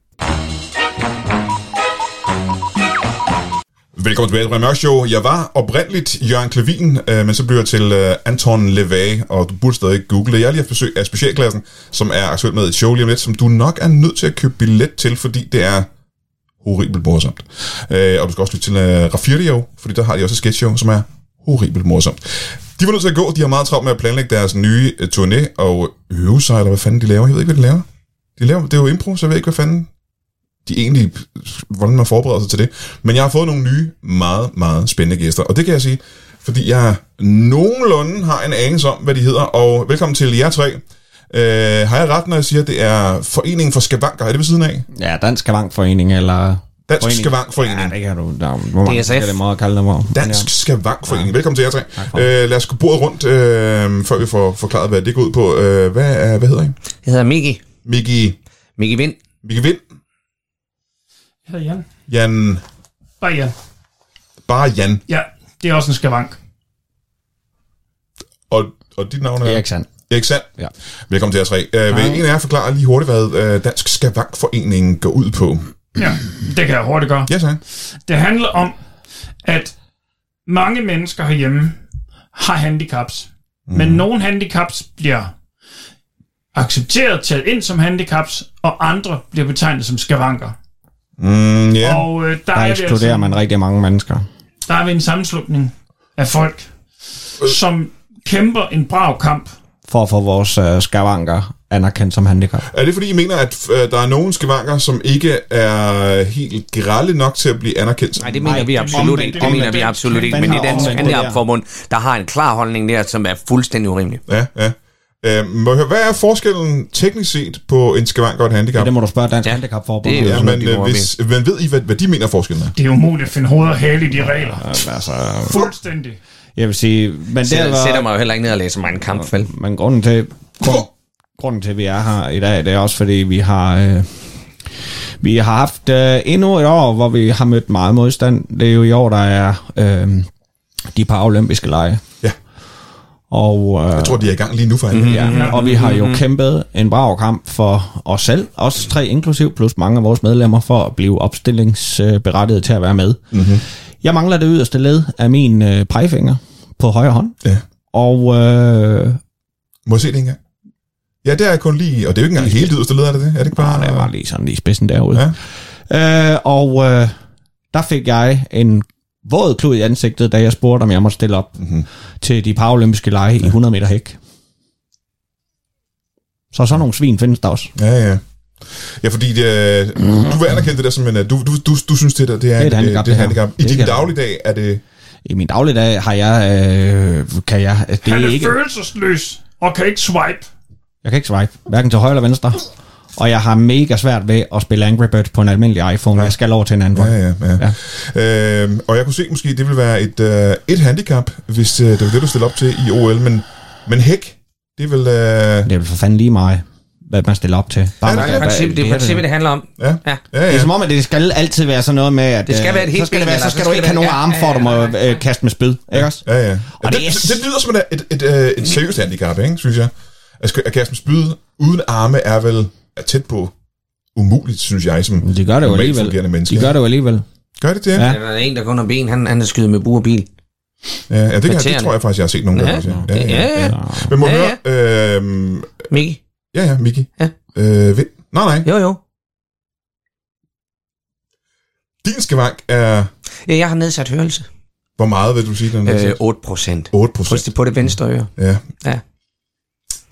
Velkommen tilbage til Brian Mørk Show. Jeg var oprindeligt Jørgen Klevin, øh, men så blev jeg til øh, Anton Levay, og du burde stadig google det. Jeg har lige haft besøg af specialklassen, som er aktuelt med i et show lige om lidt, som du nok er nødt til at købe billet til, fordi det er horribelt morsomt. Øh, og du skal også lytte til øh, Raffirio, fordi der har de også et sketch show, som er horribelt morsomt. De var nødt til at gå, de har meget travlt med at planlægge deres nye øh, turné og øve sig, eller hvad fanden de laver. Jeg ved ikke, hvad de laver. De laver, det er jo impro, så jeg ved ikke, hvad fanden de egentlig, hvordan man forbereder sig til det. Men jeg har fået nogle nye, meget, meget spændende gæster, og det kan jeg sige, fordi jeg nogenlunde har en anelse om, hvad de hedder, og velkommen til jer tre. Øh, har jeg ret, når jeg siger, at det er Foreningen for Skavanker? Er det ved siden af?
Ja, Dansk Skavankforening, eller...
Dansk
Forening.
Skavankforening.
Ja, det kan du... Der, hvor mange
DSF.
skal det meget kalde dem om?
Dansk Skavankforening. Velkommen til jer tre.
for det.
Øh, lad os gå bordet rundt, øh, før vi får forklaret, hvad det går ud på. Øh, hvad, er, hvad hedder I?
Jeg hedder Miki.
Miki,
Miki Vind.
Miki Vind,
Jeg hedder Jan.
Jan,
Bare Jan.
bare Jan,
Ja, det er også en skavank.
og, og dit navn er?
Ja. Erik Sand.
Erik Sand.
Ja.
Velkommen til jer tre. Øh, vil
Hej.
en af jer forklare lige hurtigt, hvad øh, Dansk Skavankforeningen går ud på?
Ja, det kan jeg hurtigt gøre.
Ja, tak.
Det handler om, at mange mennesker herhjemme har handicaps. Mm.
Mhm.
Men nogle handicaps bliver accepteret, taget ind som handicaps, og andre bliver betegnet som skavanker.
Mm, ja.
Ja. Og øh, der,
Der
er vi
ekskluderer man rigtig mange mennesker.
der er vi en sammenslutning af folk, som kæmper en brav kamp.
For at få vores øh, skavanker anerkendt som handicap.
Er det fordi, I mener, at øh, der er nogen skavanker, som ikke er helt grælde nok til at blive anerkendt?
Nej, det mener
Nej,
vi
det
absolut
omvendt,
ikke.
det
Det mener
er
vi
omvendt.
absolut ikke.
Den
Men i
har
Dansk
omvendt, det der.
Handicapforbund, der har en klar holdning der, som er fuldstændig urimelig.
Ja, ja. Øh, må jeg høre, hvad er forskellen teknisk set på en skavank og et
Ja.
handicap?
Det må du spørge Dansk ja.
Ja.
Handicapforbund.
Det er
Ja,
jo-
men,
de
øh,
må
hvis, men ved I, hvad, hvad de mener forskellen er?
Det er umuligt at finde hoved og hale i de regler.
Altså,
Fuldstændig.
jeg vil sige... Men det
Det
var,
sætter mig jo heller ikke ned og læser mig en kamp, vel?
Men grunden til, grund, grunden til, at vi er her i dag, det er også fordi, vi har... Øh, vi har haft øh, endnu et år, hvor vi har mødt meget modstand. Det er jo i år, der er øh, de paralympiske lege.
Ja.
Og, øh,
Jeg tror, de er i gang lige nu for mm-hmm.
Ja, og vi har jo kæmpet en brav kamp for os selv, os tre inklusiv, plus mange af vores medlemmer, for at blive opstillingsberettiget til at være med.
Mhm.
Mm-hmm. Jeg mangler det yderste led af min øh, pegefinger på højre hånd,
Ja.
og øh,
Må jeg se det engang? Ja, det er kun lige... Og det er jo ikke engang helt yderste leder, er det det? Er det ikke bare...
der var lige sådan lige spidsen derude. Ja. Øh, og øh, der fik jeg en våd klud i ansigtet, da jeg spurgte, om jeg måtte stille op mm-hmm. til de paralympiske lege ja. i 100 meter hæk. Så sådan nogle svin findes der også.
Ja, ja. Ja, fordi øh, du vil anerkende det der som en... øh, Du, du, du, du synes, det der det er, øh,
et handicap,
det er et
det her.
handicap. I
Det
din
kan-
dagligdag er det...
I min dagligdag har jeg, øh, kan jeg, det
Han
er
er
ikke,
følelsesløs og kan ikke swipe.
jeg kan ikke swipe, hverken til højre eller venstre. Og jeg har mega svært ved at spille Angry Birds på en almindelig iPhone. Jeg skal over til en Android.
Ja, ja, ja. ja. Øhm, og jeg kunne se, måske det ville være et, øh, et handicap, hvis øh, det var det, du stillede op til i OL, men, men hæk, det vil... Øh,
Det er vel for fanden lige meget, hvad man stiller op til. Bare
Ja,
man-
nej,
Det er princippet, det, er
det-
princippet, det handler om.
ja,
Ja.
ja,
Det er
ja.
som om, at det skal altid være sådan noget med, at
Det skal
øh,
være et helt
så skal, det
ben,
være,
eller
så skal du ikke have
det-
nogen
ja,
arme
ja,
for,
ja,
du må
ja, ja.
øh, kaste med spyd, ikke også?
ja, ja. Og det,
det er-
det, det lyder som et, et, et, øh, et seriøst handicap, ikke, synes jeg. At, sk- at kaste med spyd uden arme er vel er tæt på umuligt, synes jeg, som
De gør det jo
normalt
alligevel.
fungerende menneske.
De gør det jo alligevel.
gør det det? Ja,
Ja.
Der er en, der kun har ben, han, han er skyet med bur og bil.
ja, ja det, kan, jeg- det
Irriterende.
tror jeg faktisk, jeg har set nogen der.
Ja,
også,
Ja, ja. ja.
Men må ja,
Ja,
høre... Øh,
Miki?
ja, ja, Miki.
Ja.
Øh, vind. Nej, nej.
Jo, jo.
Din skavank er...
Ja, jeg har nedsat hørelse.
Hvor meget vil du sige, den er?
Øh, 8 procent.
8 procent.
Kryds det på det venstre øre.
Ja.
Ja.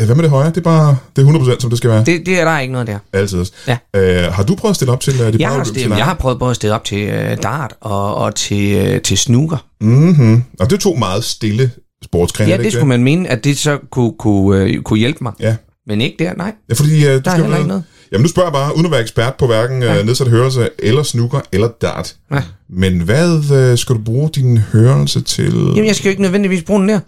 Øh, Hvad med det højre? Det er bare det er 100 som det skal være. Det.
Det, det er der ikke noget der.
Altid.
Ja.
Øh, har du prøvet at stille op til uh, det
Jeg har, stillet, jeg har prøvet både at stille op til øh, dart og, og til, øh, til snooker.
Mm-hmm. Og det er to meget stille sportsgrene.
Ja, det skulle man mene, at det så kunne, kunne, øh, kunne hjælpe mig.
Ja.
Men ikke der, nej.
Ja, fordi, uh,
Der er heller ikke noget.
Jamen, nu spørger jeg bare, uden at være ekspert på hverken ja. uh, nedsat hørelse, eller snooker, eller dart.
Ja.
Men hvad uh, skal du bruge din hørelse til?
Jamen, jeg skal jo ikke nødvendigvis bruge den der.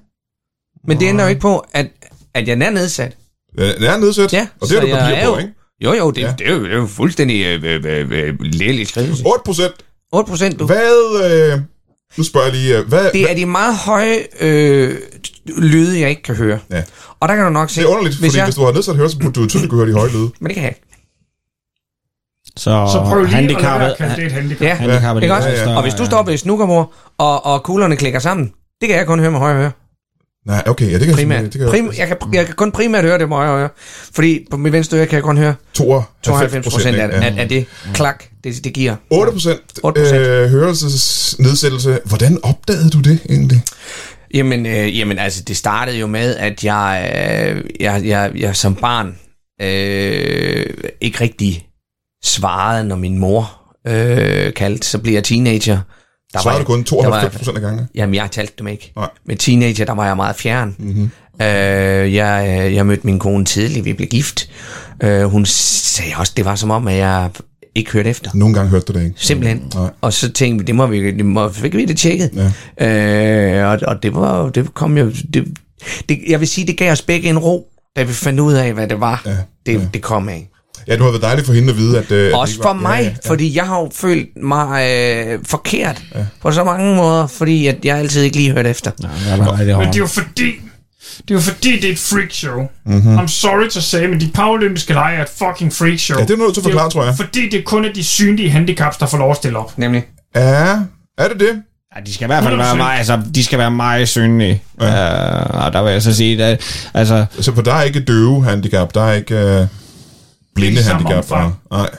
Men det ændrer jo ikke på, at, at jeg er nedsat.
Øh, Den er nedsat,
Ja,
og det er du
så jeg
papir
er
på,
jo-
ikke?
Jo, jo, det,
Ja.
ja. det, er, jo, det er jo fuldstændig øh, øh, øh, øh, lægelig skrivelse.
8 procent.
8 procent, du.
Hvad... Uh, nu spørger jeg lige, uh, hvad... Det
Det er de meget høje øh, lyde, jeg ikke kan høre.
Ja.
Og der kan du nok se...
det er underligt, hvis
hvis
fordi jeg...
jeg,
hvis du har nedsat hørelse, burde du jo tydeligt kunne høre de høje lyde.
Men det kan jeg ikke.
Så,
Så prøv lige at lade
handicappet,
være kaldt det et handicap.
Ja,
handicappet
Ikke
de
også?
to
Ja, ja.
større-
Og hvis du står ved snukkermor, og, og kuglerne klikker sammen, det kan jeg kun høre med højre øre.
Nej, okay, ja, det kan
Primært.
jeg, det kan
Prim, jeg, kan, jeg kan kun primært høre det med højre øre. Fordi på min venstre øre kan jeg kun høre 92 procent af, af, af det klak, det, det giver.
8 procent
8%.
øh, hørelsesnedsættelse. Hvordan opdagede du det egentlig?
Jamen, øh, jamen altså, det startede jo med, at jeg, øh, jeg, jeg, jeg som barn øh, ikke rigtig svarede, når min mor øh, kaldte. Så blev jeg teenager. Der
Svarede du
jeg-
kun
der var jeg-
92 procent af gange?
Jamen, jeg talte dem ikke.
Nej.
Med teenager, der var jeg meget fjern. Mm-hmm. Øh, jeg, øh, jeg mødte min kone tidligt, vi blev gift. Øh, hun sagde også, det var som om, at jeg ikke hørte efter.
Nogle gange hørte du det ikke.
Simpelthen.
Nej.
Og så tænkte vi, det må vi, det må, fik vi det tjekket. Ja. Øh, og, og det var, det kom jo, det, det, jeg vil sige, det gav os begge en ro, da vi fandt ud af, hvad det var, ja. det, ja. det kom af.
Ja, det må have været dejligt for hende at vide, at... Øh, at det
Også
ikke
for
var-
mig, ja, ja, ja. fordi jeg har jo følt mig øh, forkert ja. på så mange måder, fordi at jeg altid ikke lige hørte efter. Ja.
Ja, nej, det er
Men det er jo
hårdt.
fordi, det er jo fordi, det er et freakshow.
Mhm.
Mm-hmm. I'm sorry to say, men de paralympiske lege er et fucking freakshow.
Ja, det er du nødt til at
jo
forklare, tror jeg.
Fordi det kun er de synlige handicaps, der får lov at stille op.
Nemlig.
Ja, er det det?
Ja, de skal i hvert fald være
100%.
meget, altså, de skal være meget synlige. Ja. Uh, og der vil jeg så sige, at, altså,
Så for der er ikke døve handicap, der er ikke øh, blinde
Det er samme
handicap.
omfang.
og- Nej,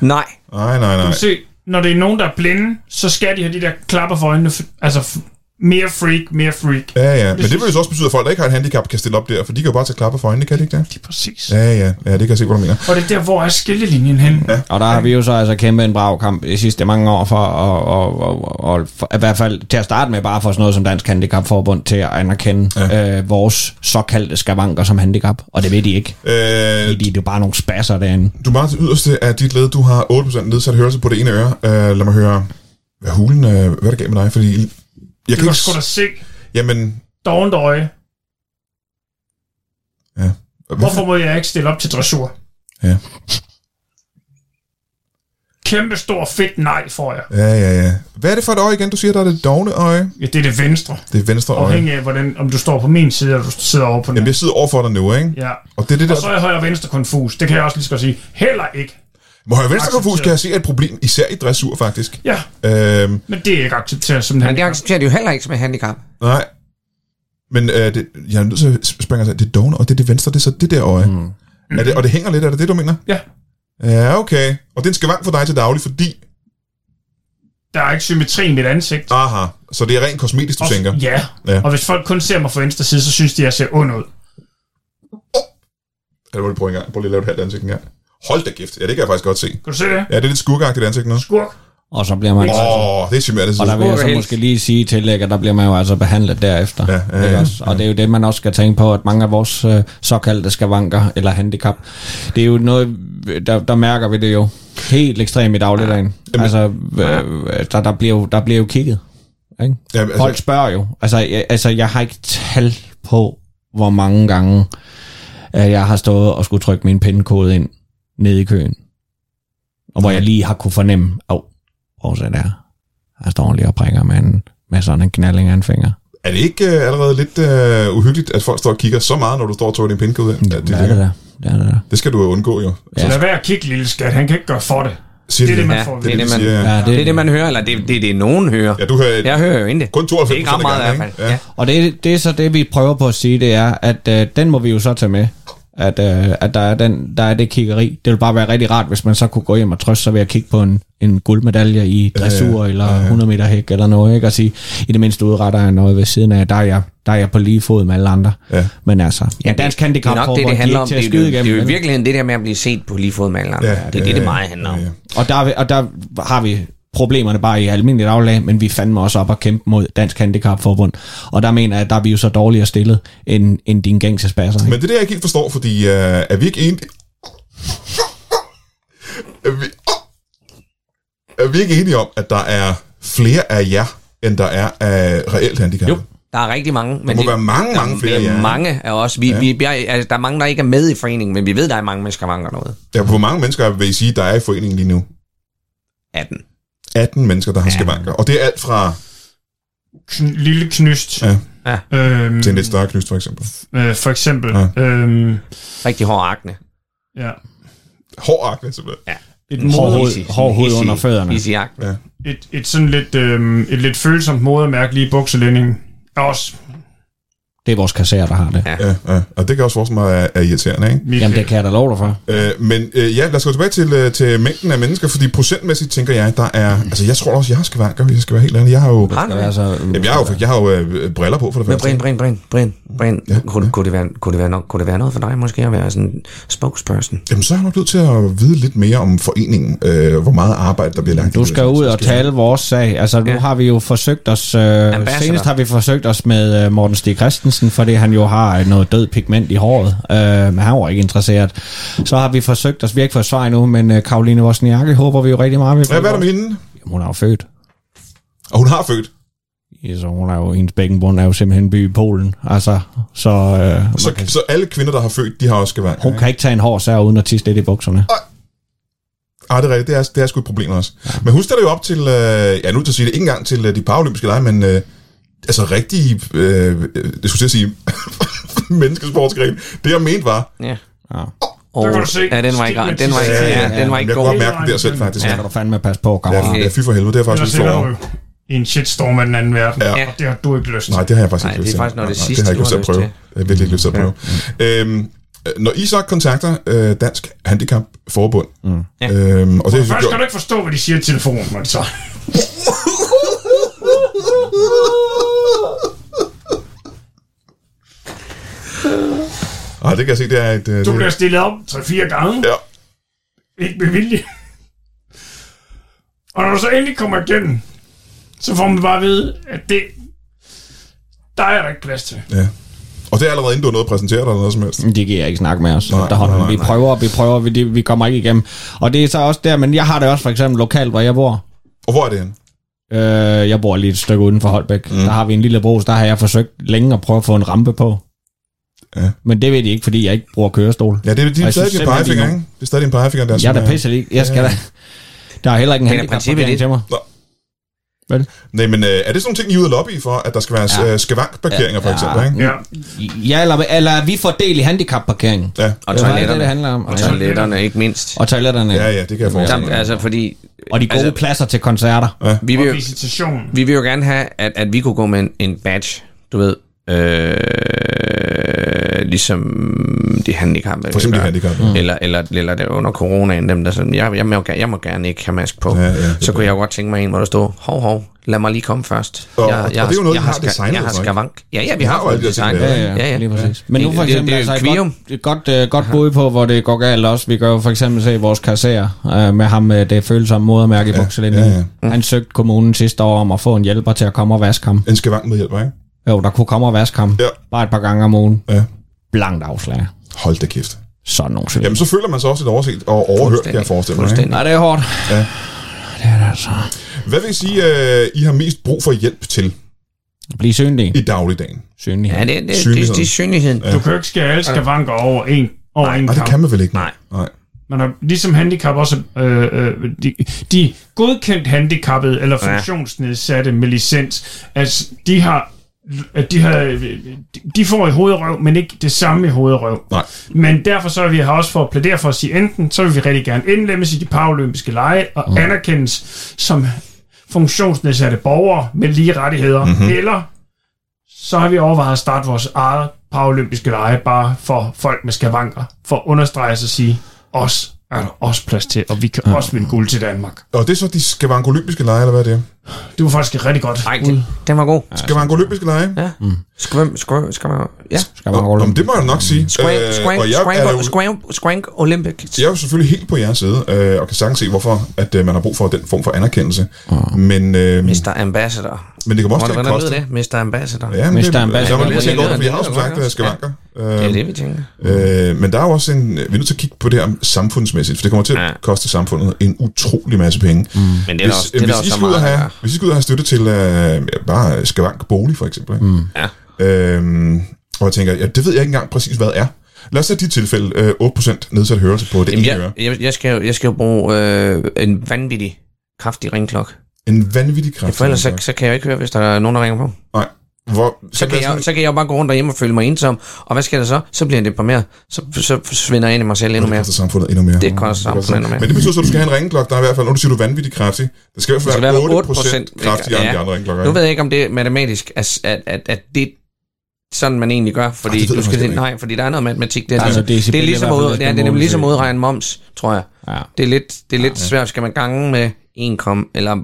nej,
Nej.
nej. nej.
Se, når det er nogen, der er blinde, så skal de have de der klapper for øjnene. f- Altså, f- mere freak, mere freak.
Ja, ja. Men det vil jo så også betyde, at folk, der ikke har et handicap, kan stille op der, for de kan jo bare tage klapper for øjnene, kan de ikke det?
Lige præcis.
Ja, ja. Ja, det kan jeg se, hvad du mener.
Og det er der, hvor er skillelinjen hen. Ja.
og der har vi jo så altså kæmpet en brav kamp de sidste mange år for, og, og, og, og for, i hvert fald til at starte med, bare for sådan noget som Dansk Handicapforbund til at anerkende ja. øh, vores såkaldte skavanker som handicap, og det ved de ikke.
Øh,
Fordi det er jo bare nogle spasser derinde.
du er meget til yderste af dit led. Du har 8% nedsat hørelse på det ene øre. Øh, lad mig høre, hvad hulen, øh, hvad er der gav med dig? Fordi jeg
Det
kan
kan
ikke...
sgu da se.
Jamen,
Dovent øje.
hvorfor?
Hvorfor må jeg ikke stille op til dressur?
Ja.
Kæmpe stor fedt nej, får jeg.
Ja, ja, ja. Hvad er det for et øje igen? Du siger, der er det dogne øje.
Ja, det er det venstre.
Det er venstre øje.
Afhængig af, hvordan, om du står på min side, eller du sidder over på den.
Jamen, jeg sidder over for dig nu, ikke?
Ja.
Og det er det
Og
der...
så er jeg højre og venstre konfus. Det kan jeg også lige så godt sige. Heller ikke.
Må jeg venstre konfus,
accepteret.
kan jeg se er et problem, især i dressur, faktisk.
Ja,
Øhm,
men det er ikke accepteret som en
Men det
handicap.
accepterer de jo heller ikke som et handicap.
nej. Men øh, det, jeg er nødt til at springe sig. Det er dogne, og det er det venstre, det er så det der øje. Mm. Er det, og det hænger lidt, er det det, du mener?
Ja,
Ja, okay. Og det er en skavank for dig til daglig, fordi...
der er ikke symmetri i mit ansigt.
Aha, så det er rent kosmetisk, du
Og-
tænker?
Ja.
Ja.
ja, og hvis folk kun ser mig fra venstre side, så synes de, at jeg ser ond ud.
Alvorligt, prøv en gang. Prøv lige at lave et halvt ansigt en gang. Hold da gift. Ja, det kan jeg faktisk godt se.
Kan du se det?
Ja, det er lidt skurkagtigt ansigt nu. Åh,
Skurk.
Og så bliver man...
oh, det er chimerende.
Og der vil jeg så
Helt.
måske lige sige i tillæg, at der bliver man jo altså behandlet derefter.
Ja, ja,
ikke
ja.
også? Og det er jo det, man også skal tænke på, at mange af vores øh, såkaldte skavanker eller handicap, det er jo noget, der, der mærker vi det jo helt ekstremt i dagligdagen. Altså, øh, der, der, bliver jo, der bliver jo kigget. Ikke?
Jamen, altså-
Folk spørger jo. Altså jeg, altså, jeg har ikke tal på, hvor mange gange at jeg har stået og skulle trykke min pindkode ind nede i køen. Og hvor jeg lige har kunne fornemme, åh, oh, så der. Jeg står lige og prikker med, en, med sådan en knalling af en finger.
Er det ikke uh, allerede lidt uh, uhyggeligt, at folk står og kigger så meget, når du står og trykker din pindkode? Ja, det,
Hvad er det
det,
der? Det er det der.
det skal du undgå jo.
Så
Ja.
lad være at kigge, lille skat. Han kan ikke gøre for det.
Siger
Det er
de.
det, man
Ja,
får.
det er det, man,
siger,
Ja,
det, er det, man hører, eller det, det er det, nogen hører.
Ja, du hører ja.
Jeg hører jo ikke det.
kun 92
Det er ikke ret meget i hvert fald. Ja.
Og det, det er så det, vi prøver på at sige, det er, at øh, den må vi jo så tage med. At, øh, at der, er den, der er det kiggeri. Det vil bare være rigtig rart, hvis man så kunne gå hjem og trøste sig ved at kigge på en, en guldmedalje i dressur øh, eller 100 meter hæk eller noget, ikke? Og sige, i det mindste udretter jeg noget ved siden af, der er jeg, der er jeg på lige fod med alle andre.
Ja.
Men altså, ja, dansk
det er
handicap
nok det, det handler om. Det, er jo- det, det er jo i
virkelig
virkeligheden det der med at blive set på lige fod med alle andre.
Ja,
Ja, det er
ja,
det, det
ja,
meget handler om.
ja, ja.
Og der, er vi- og der har vi problemerne bare i almindelig daglag, men vi fandme også op og kæmpe mod Dansk Handicapforbund. Og der mener jeg, at der er vi jo så dårligere stillet, end, end din gængse spasser.
Men det er det, jeg ikke helt forstår, fordi uh, er vi ikke enige... er, vi... er vi ikke enige om, at der er flere af jer, end der er af reelt handicap?
Jo, der er rigtig mange. Men
må være mange, mange flere,
Der
ja.
er mange af os. Vi, ja. vi, vi er, altså, der er mange, der ikke er med i foreningen, men vi ved, der er mange mennesker, der mangler noget.
Ja, hvor mange mennesker vil I sige, der er i foreningen lige nu?
18.
18 mennesker, der har skavanker. Og det er alt fra
Kn- lille knyst.
Ja.
Ja.
Øhm,
til en lidt større knyst, for eksempel.
øh, for eksempel.
Ja.
Ja. Øhm,
Rigtig hård akne.
ja.
Hård akne, simpelthen.
Ja.
Et
Hård
moder,
hoved, hård hoved under fødderne.
Easy jagt.
et, et sådan lidt, øh, et lidt følsomt modermærke lige i bukselændingen. Også
Det er vores kasserer, der har det.
Ja, ja. Og det kan jeg også forestille mig er, er irriterende, ikke?
mit
Jamen, det kan jeg da love dig for.
Øh, men øh, ja, lad os gå tilbage til, øh, til mængden af mennesker, fordi procentmæssigt tænker jeg, der er...
Mm.
Altså, jeg tror også, jeg har skavanker, hvis jeg skal være helt ærlig. Jeg har jo...
Har du
Det er
det?
altså,
Jamen, jeg har jo, jeg har jo øh, briller på, for det
Men
første.
Brian, Brian, Brian, Brian, Brian, kunne, kunne, det være, kunne, det være nok, kunne det være noget for dig måske at være sådan en spokesperson?
Jamen, så er jeg nok nødt til at vide lidt mere om foreningen, øh, hvor meget arbejde, der bliver lagt. i
du
det,
skal
hvis man
ud og tale vores sag. Altså, nu
Ja.
har vi jo forsøgt os... Øh,
Ambassador.
senest har vi forsøgt os med øh, Morten Stig Christensen, fordi han jo har øh, noget død pigment i håret. Øh, men han var ikke interesseret. Så har vi forsøgt os... Vi har ikke fået svar endnu, men øh, Karoline Wozniacki håber vi jo rigtig meget. Vi
Ja, hvad er der med hende?
Hun er jo født.
Og hun har født.
Ja, så hun er jo, hendes bækkenbund er jo simpelthen en by i Polen. Altså, så øh,
Så, så alle kvinder, der har født, de har også skavanker.
hun kan ikke tage en hård sær uden at tisse lidt i bukserne.
Ah, det er rigtigt. Det er, det er sgu et problem også. Men hun stiller jo op til, øh, ja, nu til at sige det, ikke engang til øh, de paralympiske lege, men øh, altså rigtige, øh, øh, det skulle jeg til at sige, menneskesportsgren. Det jeg mente var,
Ja.
Ja.
Og,
Der kan du se.
ja, den var ikke, den var ikke,
Ja,
ja, den var
jeg
ikke
kunne
god.
godt mærke den der selv, faktisk.
Så
Ja,
skal du fandme passe på,
ja,
kammerat.
fy- ja fy for helvede, det er jeg
Ellers
faktisk lidt
ender du
over.
jo i en shitstorm af den anden verden,
Ja.
og det har du ikke lyst til.
Nej, det har jeg faktisk
Nej,
ikke
det er
lyst til.
faktisk noget af det
Nej,
sidste,
Det har jeg ikke
du
lyst til at
har
prøve.
lyst
Jeg har virkelig ikke lyst til at prøve. Øhm, når I så kontakter øh, Dansk Handicapforbund, mm.
Ja.
øhm, og det har
Først
vi
skal du
gjort,
ikke forstå, hvad de siger i telefonen, men så...
Ej, det kan jeg se, det er et... Øh,
Du
det,
bliver stillet op 3-4 gange,
ja,
ikke med vilje. Og når du så endelig kommer igennem, så får man bare at vide, at det... Der er der ikke plads til.
ja. Og det er allerede inden du har noget at præsentere dig eller noget som helst.
De giver ikke snakke med os.
Nej,
der holder
nej,
nej, vi
nej.
prøver, vi prøver, vi, det, vi kommer ikke igennem. Og det er så også der, men jeg har det også for eksempel lokalt, hvor jeg bor.
Og hvor er det henne?
Øh, jeg bor lige et stykke uden for Holbæk. Mm. Der har vi en lille brus, der har jeg forsøgt længe at prøve at få en rampe på.
Ja.
Men det ved de ikke, fordi jeg ikke bruger kørestol.
Ja, det er, de
Og
er stadig
jeg synes
din
simpelthen,
pegefinger,
de er
ikke? Det er stadig din pegefinger, der
Jeg er
som
da pisse ikke. Jeg skal da... Der er heller ikke en
Men i
handicap
princippet det-
til mig.
Nej, men øh, er det sådan nogle ting, I er ude at lobby for, at der skal være ja. skavankparkeringer, for eksempel, ikke?
Ja.
Ja, eller, eller vi får del i handicapparkeringen.
Ja.
Og
Det er meget det, det
toiletterne.
handler om. Og, ja.
Toiletterne, ikke mindst.
og toiletterne.
ja,
Ja.
ja, det kan jeg forestille
Jamen,
mig.
altså, fordi...
Og de gode
altså,
pladser til koncerter.
vi vil
Og
jo,
visitationen.
vi vil jo gerne have, at, at vi kunne gå med en, en badge, du ved. Øh, ligesom de handicappede.
For eksempel de handicappede.
Eller, eller, eller det var under coronaen, dem der sådan, jeg, jeg, må, gerne- jeg må gerne ikke have mask på.
Ja, ja, det
så kunne jeg jo godt tænke mig en, hvor der stod, hov, hov, lad mig lige komme først.
Og-
jeg,
og
jeg,
det er jo noget,
jeg
I har
ska-
designet,
Jeg har
ikke?
skavank. Ja, ja, vi,
har
har
jo alle de her ting der,
Ja, ja,
lige præcis.
Det-
Men nu for
det-
eksempel,
det er jo
altså, et
kvium.
godt, et godt, øh, godt bud på, hvor det går galt også. Vi kan jo for eksempel se vores kasserer øh, med ham med det følsomme modermærke i ja, bukselinjen.
ja,
Ja,
Mm.
ja. Han søgte kommunen sidste år om at få en hjælper til at komme og vaske ham.
En skavank med hjælp, ikke?
Jo, der kunne komme og vaske ham.
Ja.
Bare et par gange om ugen.
Ja.
Blankt afslag.
Hold da kæft.
Sådan nogle svin.
Jamen, så føler man sig også lidt overset og overhørt, kan jeg forestille mig. Ikke?
Fuldstændig.
Nej, det er hårdt.
Ja.
Det er det altså.
Hvad vil I sige, øh, I har mest brug for hjælp til
Bliv synlig.
i dagligdagen?
Synlig.
Ja, det, det, det,
Synligheden.
det, det er synligheden.
Du kan jo ikke skære alle skavanker over en, over en
Nej, det
kamp.
kan man vel ikke?
Nej.
Nej.
Man har ligesom handicap også, øh, øh, de, de godkendt handicappede eller
Ja.
funktionsnedsatte med licens, altså de har, at de har, øh, de får i hovedrøv, men ikke det samme i hovedrøv.
Nej.
Men derfor så er vi her også for at plædere for at sige, enten så vil vi rigtig gerne indlemmes i de paralympiske lege og mm. anerkendes som funktionsnedsatte borgere med lige rettigheder,
Mhm.
mm-hmm. eller så har vi overvejet at starte vores eget paralympiske lege bare for folk med skavanker, for at understrege sig og sige, os er der også plads til, og vi kan mm. også vinde guld til Danmark.
Og det er så de skavankolympiske lege, eller hvad er det?
Det var faktisk et rigtig godt.
Nej, den, den var god.
Skavankolympiske lege?
Ja.
Mm.
Skvæm, skvæm, skvæm, ja.
Skal man
Nå,
holde
men det må jeg nok sige.
Squank,
Øh,
squank,
og jeg
squank,
er jo-
squank, squank Olympics.
Jeg er jo selvfølgelig helt på jeres side, øh, og kan sagtens se, hvorfor at, øh, man har brug for den form for anerkendelse. Men, øh,
Mr. Ambassador.
men det kan også
Hvordan
til at
lyder
koste.
det? Mr. Ambassador.
Ja, men
Mr.
det,
Ambassador.
jeg må lige tænke over det, for jeg har jo
Ja,
som
det er
sagt
det.
øh, skavanker.
Det er
Øh,
det, vi tænker.
øh, men der er jo også en, vi er nødt til at kigge på det her samfundsmæssigt, for det kommer til
Ja.
at koste samfundet en utrolig masse penge.
Men det er
Hvis,
der også,
øh,
det er
hvis,
der også
I
så
skal ud og
meget.
have,
ja.
hvis I skal ud og have støtte til øh, ja, bare skavank bolig, for eksempel. Ikke? Mm.
Ja.
Øhm, og jeg tænker, ja, det ved jeg ikke engang præcis, hvad er. Lad os tage dit tilfælde, øh, 8% nedsat hørelse på det
Jamen,
ene øre.
jeg, jeg, jeg, skal jo, jeg skal jo bruge øh, en vanvittig kraftig ringklok.
En vanvittig kraft.
For ellers så, så kan jeg jo ikke høre, hvis der er nogen, der ringer på.
Nej. Hvor,
Så kan, jeg, så kan jeg jo bare gå rundt derhjemme og føle mig ensom. Og hvad sker der så? Så bliver jeg deprimeret. Så, så svinder jeg ind i mig selv endnu mere.
koster samfundet endnu mere.
Det koster samfundet endnu mere.
Men det betyder så, at du skal have en ringklokke, der er i hvert fald, når du siger, du er vanvittig kraftig, der skal i hvert
Det
fald
skal være
være
8%,
8% kraftigere end de andre ringklokker.
Nu
ikke?
ved jeg ikke, om det er matematisk, at, at, at, at det er sådan, man egentlig gør. Fordi,
Ej, det ved
du
jeg
skal,
faktisk
se-
ikke.
nej, fordi der er noget matematik. Det er,
Der er
ligesom,
noget decibel
det er
i
ligesom,
hvert fald, der
ud,
skal
ja, det er
måles.
ligesom at udregne moms, tror jeg.
Ja.
Det er lidt, det er lidt svært. Skal man gange med 1, eller...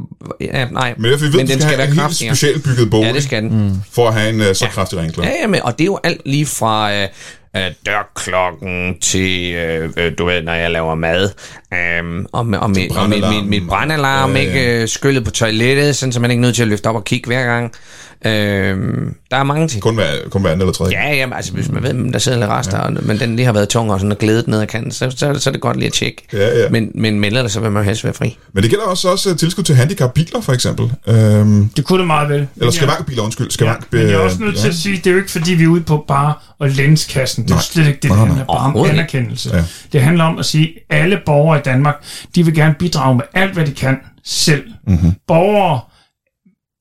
Ja, nej,
Men derfor vi ved,
men
du skal
den skal
have
være
en helt
kraftigere.
specielt bygget bolig,
Ja, det skal den. Mm.
for at have en øh, så kraftig ringklokke.
Ja, ja, men, og det er jo alt lige fra øh, øh, dørklokken til, øh, øh, du ved, når jeg laver mad, øh, og, med- og, med, og mit,
brandalarmen.
mit, mit brandalarm,
Ja,
ja,
ja.
ja. ikke øh, skyllet på toilettet, sådan, så man ikke er nødt til at løfte op og kigge hver gang. Øh, der er mange ting.
Kun hver, kun hver anden eller tredje.
Ja, jamen, altså hvis man ved, der sidder lidt rester, ja. men den lige har været tung og sådan og glædet ned ad kanten, så, så, så er det godt lige at tjekke.
Ja, ja.
Men, men, men ellers så vil man jo helst være fri.
Men det gælder også, også øh, tilskud til handicapbiler, for eksempel. Øhm,
Det kunne det meget vel. Men
eller
jeg-
skavankbiler, undskyld. Skavank,
men jeg er også
øh,
nødt
ja.
til at sige, det er jo ikke fordi, vi er ude på bare og lænskassen. Det er jo
Nej.
slet ikke det, det
Nej, nej, nej.
handler bare om
Overhovedet ikke.
anerkendelse.
Ja.
Det handler om at sige, at alle borgere i Danmark, de vil gerne bidrage med alt, hvad de kan selv. Mm-hmm.
Mhm.
Borgere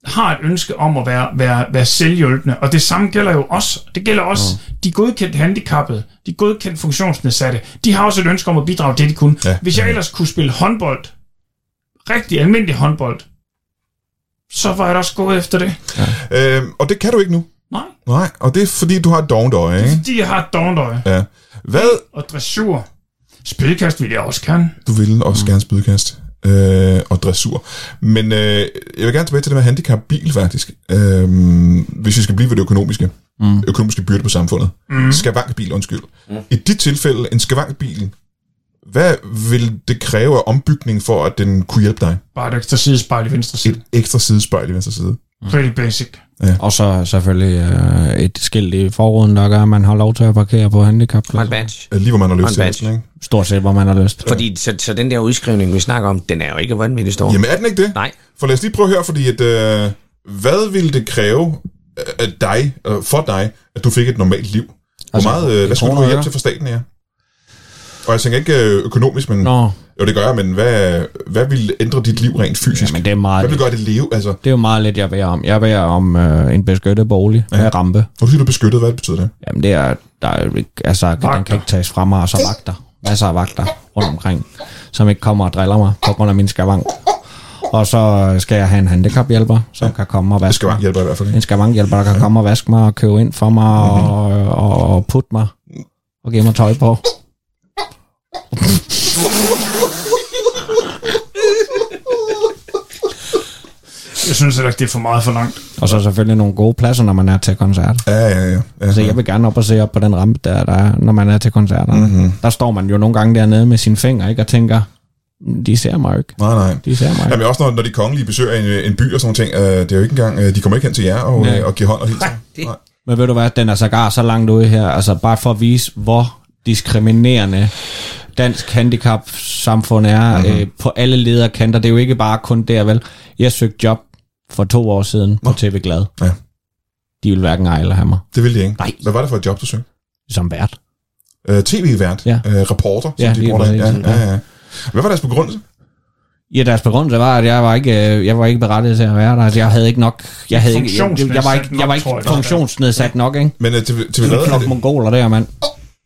har et ønske om at være, være, være selvhjælpende, og det samme gælder jo os. Det gælder også
Mhm.
de godkendte handicappede, de godkendte funktionsnedsatte. De har også et ønske om at bidrage det, de kunne.
Ja.
Hvis jeg ellers kunne spille håndbold, rigtig almindelig håndbold, så var jeg da også gået efter det.
Øhm, og det kan du ikke nu.
Nej.
Nej, og det er fordi, du har et dovent øje, ikke?
Fordi jeg Altså, har et dovent øje.
Ja. Hvad
Og dressur. Spilkast vil jeg også gerne.
du vil
Mm.
også gerne spydkast øh, og dressur. Men øh, jeg vil gerne tilbage til det med handicapbil, faktisk. Øh, hvis vi skal blive ved det økonomiske. Mm. Økonomiske byrde på samfundet. Mm. Skavankbil, undskyld. Mm. I dit tilfælde, en skavankbil, hvad vil det kræve af ombygning for, at den kunne hjælpe dig?
Bare et ekstra sidespejl i venstre side.
Et ekstra sidespejl i venstre side.
Pretty basic.
Og så selvfølgelig øh, et skilt i forruden, der gør, at man har lov til at parkere på handicap.
Og en badge.
Øh, Lige hvor man har
Og
lyst
en
til
badge.
næsten, ikke?
Stort set, hvor man har lyst.
Fordi så, så den der udskrivning, vi snakker om, den er jo ikke vanvittig stor.
Jamen er den ikke det?
Nej.
For lad os lige prøve at høre, fordi at, øh, hvad ville det kræve øh, af dig, øh, for dig, at du fik et normalt liv? Hvor
Altså,
meget, øh, hvad skulle du
kroner og
have hjælp
øre?
til fra staten her? Og jeg tænker ikke øh, økonomisk, men Nå.
Nå,
jo det gør jeg, men hvad, hvad ville ændre dit liv rent fysisk?
men det er
hvad
meget
ville
lidt.
gøre det leve? Altså,
Det er jo meget lidt, jeg beder om. Jeg beder om øh, en beskyttet bolig med rampe.
når du siger, du er beskyttet, hvad betyder det?
Jamen det er, der er jo ikke- altså, den
Vagter.
kan ikke tages fra mig, og så vagter. Masser af vagter rundt omkring, som ikke kommer og driller mig på grund af min skavank. Og så skal jeg have en handicaphjælper, som kan komme og
Det
vaske
skal være
mig.
hjælper i hvert fald.
En
Ikke?
skavankhjælper, der kan komme og vaske mig og købe ind for mig og, og, og putte mig og give mig tøj på.
Jeg synes heller ikke, det er for meget for langt.
Og så selvfølgelig nogle gode pladser, når man er til koncert.
Ja, ja, ja. ja.
Så Altså, jeg vil gerne op og se op på den rampe, der, der er, når man er til koncerter.
Mhm.
Mm-hmm. Der står man jo nogle gange dernede med sine fingre, ikke? Og tænker, "Mm, de ser mig jo ikke.
Nej, nej.
De ser mig jo
Jamen også når, når de kongelige besøger en, en by og sådan nogle ting, øh, det er jo ikke engang, øh, de kommer ikke hen til jer og,
Nej.
øh, og giver hånd og hilser.
det-
Nej.
Men ved du hvad, den er sågar så langt ude her, altså bare for at vise, hvor diskriminerende dansk handicap-samfund er
Mhm.
mm-hmm. øh, på alle ledere kanter. Det er jo ikke bare kun der, vel? Jeg søgte job for to år siden på TV Glad.
Ja.
De ville hverken eje eller have mig
Det ville de ikke.
Nej.
Hvad var det for et job, du søgte?
som vært.
øh, tv-vært, ja.
Ja.
øh, reporter, som
Ja,
de
lige
bruger derinde.
præcis,
ja, ja, ja. Hvad var deres begrundelse?
Ja, deres begrundelse var, at jeg var ikke, øh, jeg var ikke berettiget til at være der. Altså, jeg havde ikke nok... Jeg, havde ikke, jeg, jeg var ikke, jeg var ikke
Funktionsnedsat nok, tror jeg.
funktionsnedsat nok, ikke?
Men øh, til, til
Det er en
er
flok
det,
mongoler der, mand.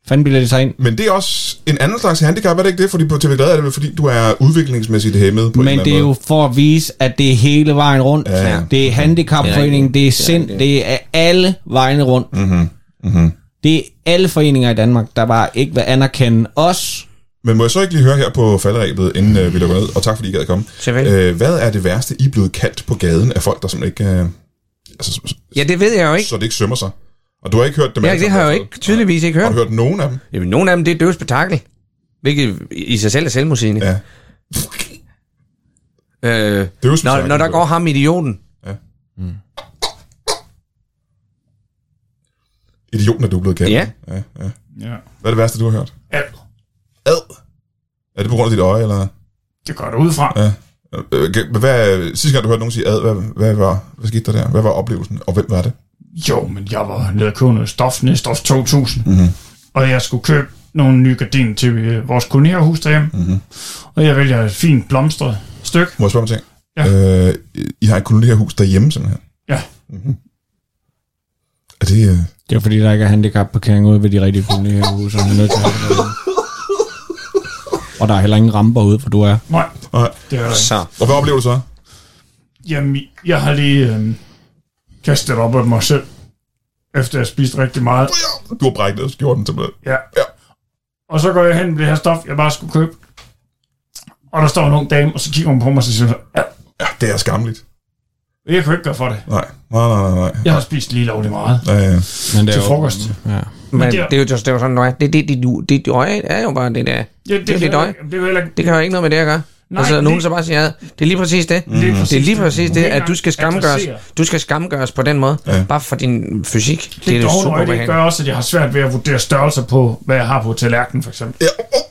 Fanden bilder de sig ind?
men det er også en anden slags handicap, er det ikke det? Fordi på TV Glad er det vel, fordi du er udviklingsmæssigt hæmmet på en
Men
eller
det er
anden
jo for at vise, at det er hele vejen rundt.
Ja, ja.
Det er handicapforeningen, det er sind, det er alle vejene rundt.
måde. Mm-hmm. Mm-hmm.
Det er alle foreninger i Danmark, der bare ikke vil anerkende os.
Men må jeg så ikke lige høre her på falderæbet, inden øh, vi lukker ned? Og tak fordi I gad at komme.
Selvfølgelig.
Øh, hvad er det værste, I er blevet kaldt på gaden af folk, der simpelthen ikke... Øh, altså, så,
Ja, det ved jeg jo ikke.
så det ikke sømmer sig? Og du har ikke hørt dem
Ja,
alle
det
sammen,
har jeg jo
altså.
ikke, tydeligvis ikke
Har
hørt.
du hørt nogen af dem?
Jamen, nogle af dem, det er døve spektakel. Hvilket i sig selv er selvmodsigende.
Ja.
Øh,
Det er jo
når, når der går ham idioten.
Idioten er du blevet kaldt.
Ja.
ja, ja.
Ja.
Hvad er det værste, du har hørt?
Alt.
Ad. Er det på grund af dit øje, eller?
Det går der ud fra.
Ja. Øh, okay, Hvad, sidste gang du hørte nogen sige ad, hvad, hvad, var, hvad skete der der? Hvad var oplevelsen, og hvem var det?
Jo, men jeg var nede og købe noget stof, nede i stof 2000.
Mhm.
Mm-hmm. Og jeg skulle købe nogle nye gardiner til øh, vores kolonierhus derhjemme.
Mhm.
Mm-hmm. Og jeg vælger et fint blomstret stykke.
Må jeg spørge om en ting?
Ja.
Øh, I har et kolonierhus derhjemme, simpelthen.
Ja.
Er det... Øh...
Det er fordi, der ikke er handicapparkering ude ved de rigtige kolonihavehuse, og han er nødt til at have det derinde. Og der er heller ingen ramper ude, for du er.
Nej,
Nej.
det er der ikke.
Så.
Og hvad oplever du så?
Jamen, jeg har lige øh, kastet op af mig selv, efter jeg spiste rigtig meget.
Du har brækket ned skjorten simpelthen.
Ja.
Ja.
Og så går jeg hen med det her stof, jeg bare skulle købe. Og der står en ung dame, og så kigger hun på mig, og så siger hun, så, ja,
Ja, det er skamligt.
jeg kan jo ikke gøre for det.
Nej, nej, nej, nej. nej.
Jeg har spist lige lovligt meget.
Øh,
Men det er
Til
jo-
frokost.
Ja.
Men
det er-
det er jo just- det er jo sådan, nej, det, det, det, det, det, det er jo bare det der.
Ja, det,
Det er
kan
lidt
jeg-
øje.
Det er jo heller ikke...
Det kan jo ikke noget med det at gøre.
Nej,
Nej, altså, nogen
det-
så bare siger, ja, det er lige præcis
Mm.
det.
Lige
Mm.
præcis
Det er lige
det.
præcis
Du kan
det,
ikke
at du skal
engang
skamgøres.
adressere.
Du skal skamgøres på den måde.
Ja.
Bare for din fysik. Det,
Det,
er
det
jo
dårlige
super
øje, det
behageligt.
gør også, at jeg har svært ved at vurdere størrelser på, hvad jeg har på tallerkenen, for eksempel.
ja. oh, oh.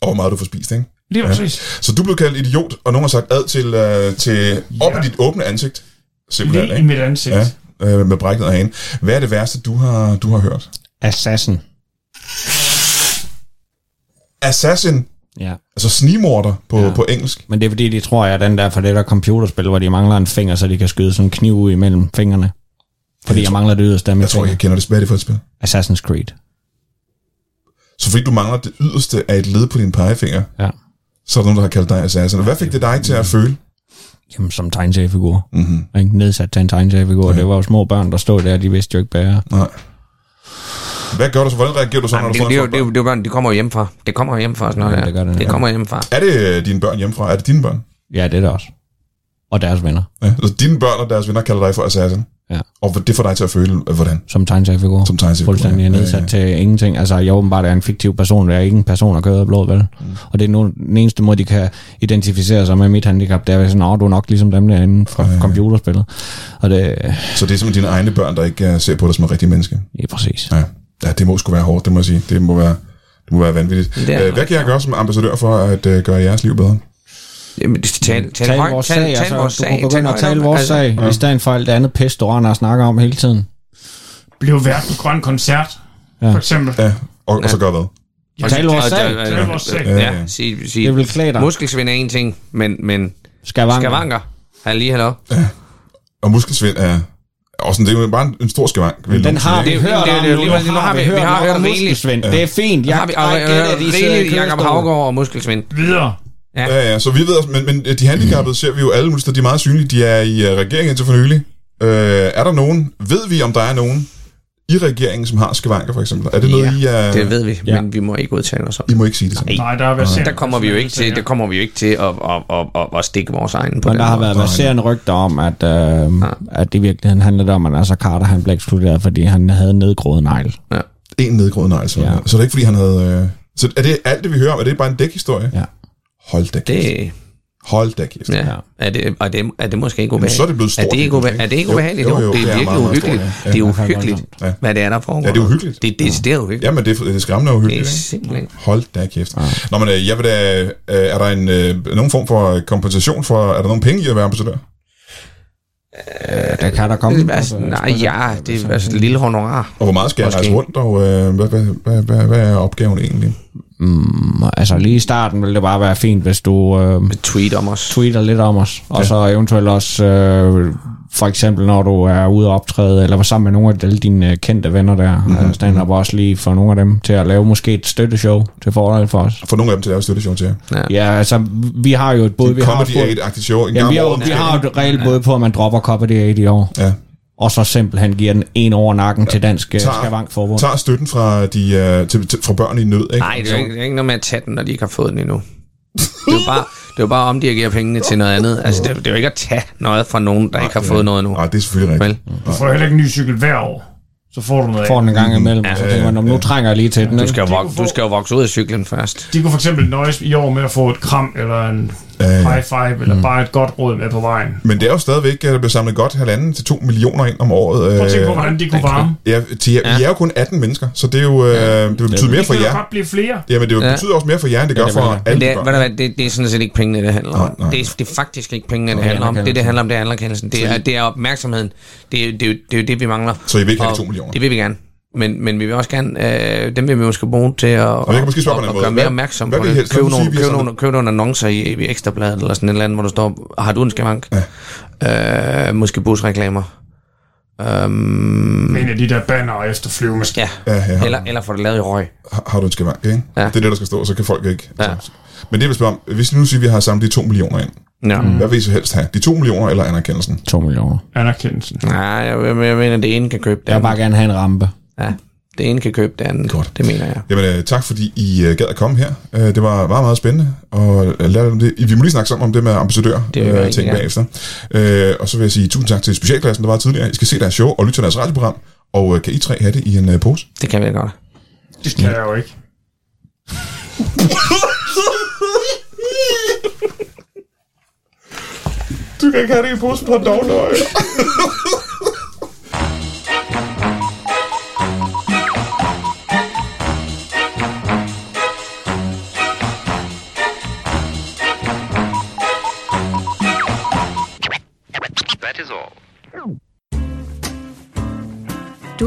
Og hvor meget du får spist, ikke?
Lige præcis.
Så du blev kaldt idiot, og nogen har sagt ad til, øh, til op
Ja.
i dit åbne ansigt. Simpelthen,
Lige i
ikke?
mit ansigt.
Ja, øh, med brækket af hende. Hvad er det værste, du har, du har hørt?
Assassin.
Assassin,
Ja.
altså snimorder på, ja. på engelsk.
Men det er fordi, de tror, at den der for det der computerspil, hvor de mangler en finger, så de kan skyde sådan en kniv ud imellem fingrene. Fordi jeg mangler det yderste af min
Jeg tror ikke,
finger.
jeg kender det. Hvad er det for et spil?
Assassin's Creed.
Så fordi du mangler det yderste af et led på din pegefinger,
Ja.
så er der nogen, der har kaldt dig assassin. Og hvad fik det dig til at føle?
Jamen, som tegneseriefigur. Mm-hmm. Ikke? Nedsat til en tegneseriefigur. Ja. Det var jo små børn, der stod der, de vidste jo ikke bedre.
Nej. Hvad gør du så? Hvordan reagerer du så,
Jamen,
når du
Det,
får
det, er jo-
en
det, er
flok
jo- det, er jo børn, de kommer jo hjemmefra. Det kommer jo hjemmefra, sådan noget
Ja,
der.
det gør det,
det
ja.
kommer hjemmefra.
børn? Er det øh, dine børn hjemmefra? Er det dine børn?
Ja, det er det også. Og deres venner,
Ja. Altså, dine børn og deres venner kalder dig for assassin.
Ja.
Og hvor- det får dig til at føle, øh, hvordan?
som tegneseriefigur.
Som tegneseriefigur,
Fuldstændig
ja. Ja,
nedsat
ja.
til ingenting. Altså, jeg åbenbart er en fiktiv person, jeg er ikke en person, der kører af blod, vel? Mm. Og det er nogen, den eneste måde, de kan identificere sig med mit handicap, det er ved sådan, åh, du er nok ligesom dem derinde fra ja, computerspillet. Og det,
øh, Så det er simpelthen dine egne børn, der ikke øh, ser på dig som et rigtigt menneske.
Ja, præcis.
Ja. ja, det må sgu være hårdt, det må jeg sige. Det må være, det må være vanvittigt.
Det er
Øh, Hvad kan jeg gøre som ambassadør for at øh, gøre jeres liv bedre?
Jamen, det- tal, tal,
Tal
højt,
vores
tal-
sag,
tal
altså.
vores
Du
sag,
kan
tal
begynde at
højt
tale
om-
vores
altså,
sag, i stedet for alt det andet pis, du render og snakker om hele tiden.
Blev vært på Grøn Koncert,
Ja.
for eksempel.
Ja, og, ja. og så gør hvad?
og-
Tal vores
og-
sag.
og- og-
Tal vores sag.
Altså- Ja, sig, sig.
Det vil klæde dig.
Muskelsvind er en ting, men, men
Skavanker.
skavanker. Ja, lige hallo.
Og muskelsvind er også en, det er jo bare en, en stor skavang. vil
Den
nogen
har
sige,
vi
ikke?
Det er jo-
hørt
det er jo-
om
det er jo
nu.
lige præcis- nu har vi- vi har
nok
hørt
om
rigeligt.
muskelsvind. Det er fint.
Jeg
Jeg
har vi og,
jeg
og,
gætter, de sidder i
rigeligt Jakob
kørestol.
Havgaard og muskelsvind.
Videre.
Ja, ja, så vi ved, også- men, men de handicappede ser vi jo alle mulige steder. De er meget synlige. De er i uh, regeringen indtil for nylig. Uh, er der nogen, ved vi, om der er nogen i regeringen, som har skavanker, for eksempel? Er det noget, I er...
Det ved vi,
Ja.
men vi må ikke udtale os om.
I må ikke sige det sådan.
Nej, der er været
Der kommer vi jo ikke til, der kommer vi jo ikke til at, at, at, at, at stikke vores egen på
Men
den
der har
måde.
været verserende rygter om, at, øh, at i virkeligheden handlede det om, at altså Carter han blev ekskluderet, fordi han havde en nedgroet negl.
En nedgrået nej, altså. Ja.
Ja.
Så er det ikke, fordi han havde... Uh... Så er det alt det, vi hører om, er det bare en dækhistorie?
Ja.
Hold da kæft.
Det,
Hold da kæft.
Ja. Er det, og det, er det måske ikke ubehageligt?
så er det blevet stort,
Er det ikke,
lige pludselig,
ube, er det ikke
ikke?
ubehageligt?
Jo, jo, jo,
det
det er
er virkelig
meget, meget
uhyggeligt.
stort, ja.
Det er
Ja, det er
uhyggeligt,
voldsomt.
Ja.
hvad det er, der foregår.
Ja, det er uhyggeligt.
Det er decideret uhyggeligt.
Jamen, det er, det er skræmmende og
Det er
uhyggeligt. ikke?
simpelthen...
Hold da kæft. Ja. Nå, men øh, jeg vil da, øh, er der en, øh, nogen form for kompensation for, er der nogen penge i at være ambassadør?
Ja, der kan der komme.
Altså, nej, ja, det er altså et lille honorar.
Og hvor meget skal jeg
Måske.
rejse rundt, og øh, hvad, hvad, hvad, hvad, hvad er opgaven egentlig?
Altså lige i starten ville det bare være fint, hvis du øh,
Tweet om os.
tweeter lidt om os, og så eventuelt også... Øh, for eksempel når du er ude og optræde, eller var sammen med nogle af alle dine øh, kendte venner der,
Mhm.
mm-hmm. stand-up også lige for nogle af dem til at lave måske et støtteshow til fordel for os.
For nogle af dem til at lave et støtteshow til jer.
Ja, altså, vi har jo et både... Vi har,
Comedy
også både-
8-agtigt show. En
Jamen,
gang
vi, har,
om
jo-
året
vi
måske.
har jo et regel både på, at man dropper Comedy 8 i år.
Ja.
og så simpelthen giver den en over nakken ja. til Dansk
Tager-
Skavang Forbund.
Tager støtten fra, de, øh, til, til, fra børn i nød, ikke?
Nej, det er, jo ikke, det er ikke noget med at tage den, når de ikke har fået den endnu. Det er jo bare, det er jo bare at omdirigere pengene til noget andet. Altså, det er, det er jo ikke at tage noget fra nogen, der ikke har fået noget endnu.
Nej, det er selvfølgelig rigtigt.
Vel?
Du får heller ikke en ny cykel hver år. Så får du noget
Får
af.
den en gang imellem, og så tænker man, "Nå, men nu trænger jeg lige til den.
Du
ikke?"
skal, jo vok- du skal jo vokse ud af cyklen først.
De kunne for eksempel nøjes i år med at få et kram, eller en
Øh,
high five, eller bare et godt råd med på vejen.
men det er jo stadigvæk, at der bliver samlet godt halvanden til to millioner ind om året.
Prøv at tænke på,
Øh,
hvordan de kunne varme.
ja, til, ja. I er jo kun 18 mennesker, så det, er jo, øh, det betyder mere
Det
for
kan jo
jer.
godt blive flere.
Jamen, det
Ja.
betyder også mere for jer, end det gør
det vil
for
det
alle
Det
de
er, ved du
børn.
hvad, det, det er sådan set ikke pengene, det handler om.
Nej, nej.
Det, er, det er faktisk ikke pengene, det handler om. Det, det handler om, det er anerkendelsen. Det er, det er opmærksomheden. Det er, det, er, jo- det er jo det, vi mangler.
Så I vil ikke have de
Og
to millioner?
Det vil vi gerne. Men, men vi vil også gerne, øh, dem vil vi måske bruge til at, og
jeg kan måske spørge på en anden
at
måde.
gøre
Hvad-
mere opmærksom
hvad
på
vil I
det.
helst?
Køb
Lad os sige,
nogle,
vi er
køb,
sådan-
nogle, køb nogle annoncer i, i Ekstrabladet eller sådan et eller andet, hvor der står, har du en skavank? Ja. Øh, måske busreklamer. Øhm,
Mm.
En af de der banner efter flyvemaskinen.
ja.
Ja, ja, har,
Eller, eller få det lavet i røg.
har- har du en skavank, ikke?
Ja.
Ja. Det er det, der skal stå, så kan folk ikke.
Ja.
Altså, Men det er spørge om, hvis nu siger, at vi har samlet de 2 millioner ind,
Ja. Mm.
hvad vil I så helst have? De 2 millioner eller anerkendelsen?
2 millioner.
Anerkendelsen.
Nej, jeg, jeg, jeg mener, det ene kan købe det
Jeg vil
andet.
bare gerne have en rampe.
Ja, det ene kan købe det andet.
Godt.
Det mener jeg.
Jamen, øh, tak fordi I øh, gad at komme her. Øh, det var meget, meget spændende. Og øh, lad om det. Vi må lige snakke sammen om det med ambassadør
Det vil jeg
øh,
rigtig
ting
gerne.
bagefter. Øh, og så vil jeg sige tusind tak til specialklassen, der var tidligere. I skal se deres show og lytte til deres radioprogram. Og øh, kan I tre have det i en øh, pose?
Det kan vi godt.
Det
Mm.
kan jeg jo ikke.
Du kan ikke have det i en pose på en dognøje.
That is all.
Du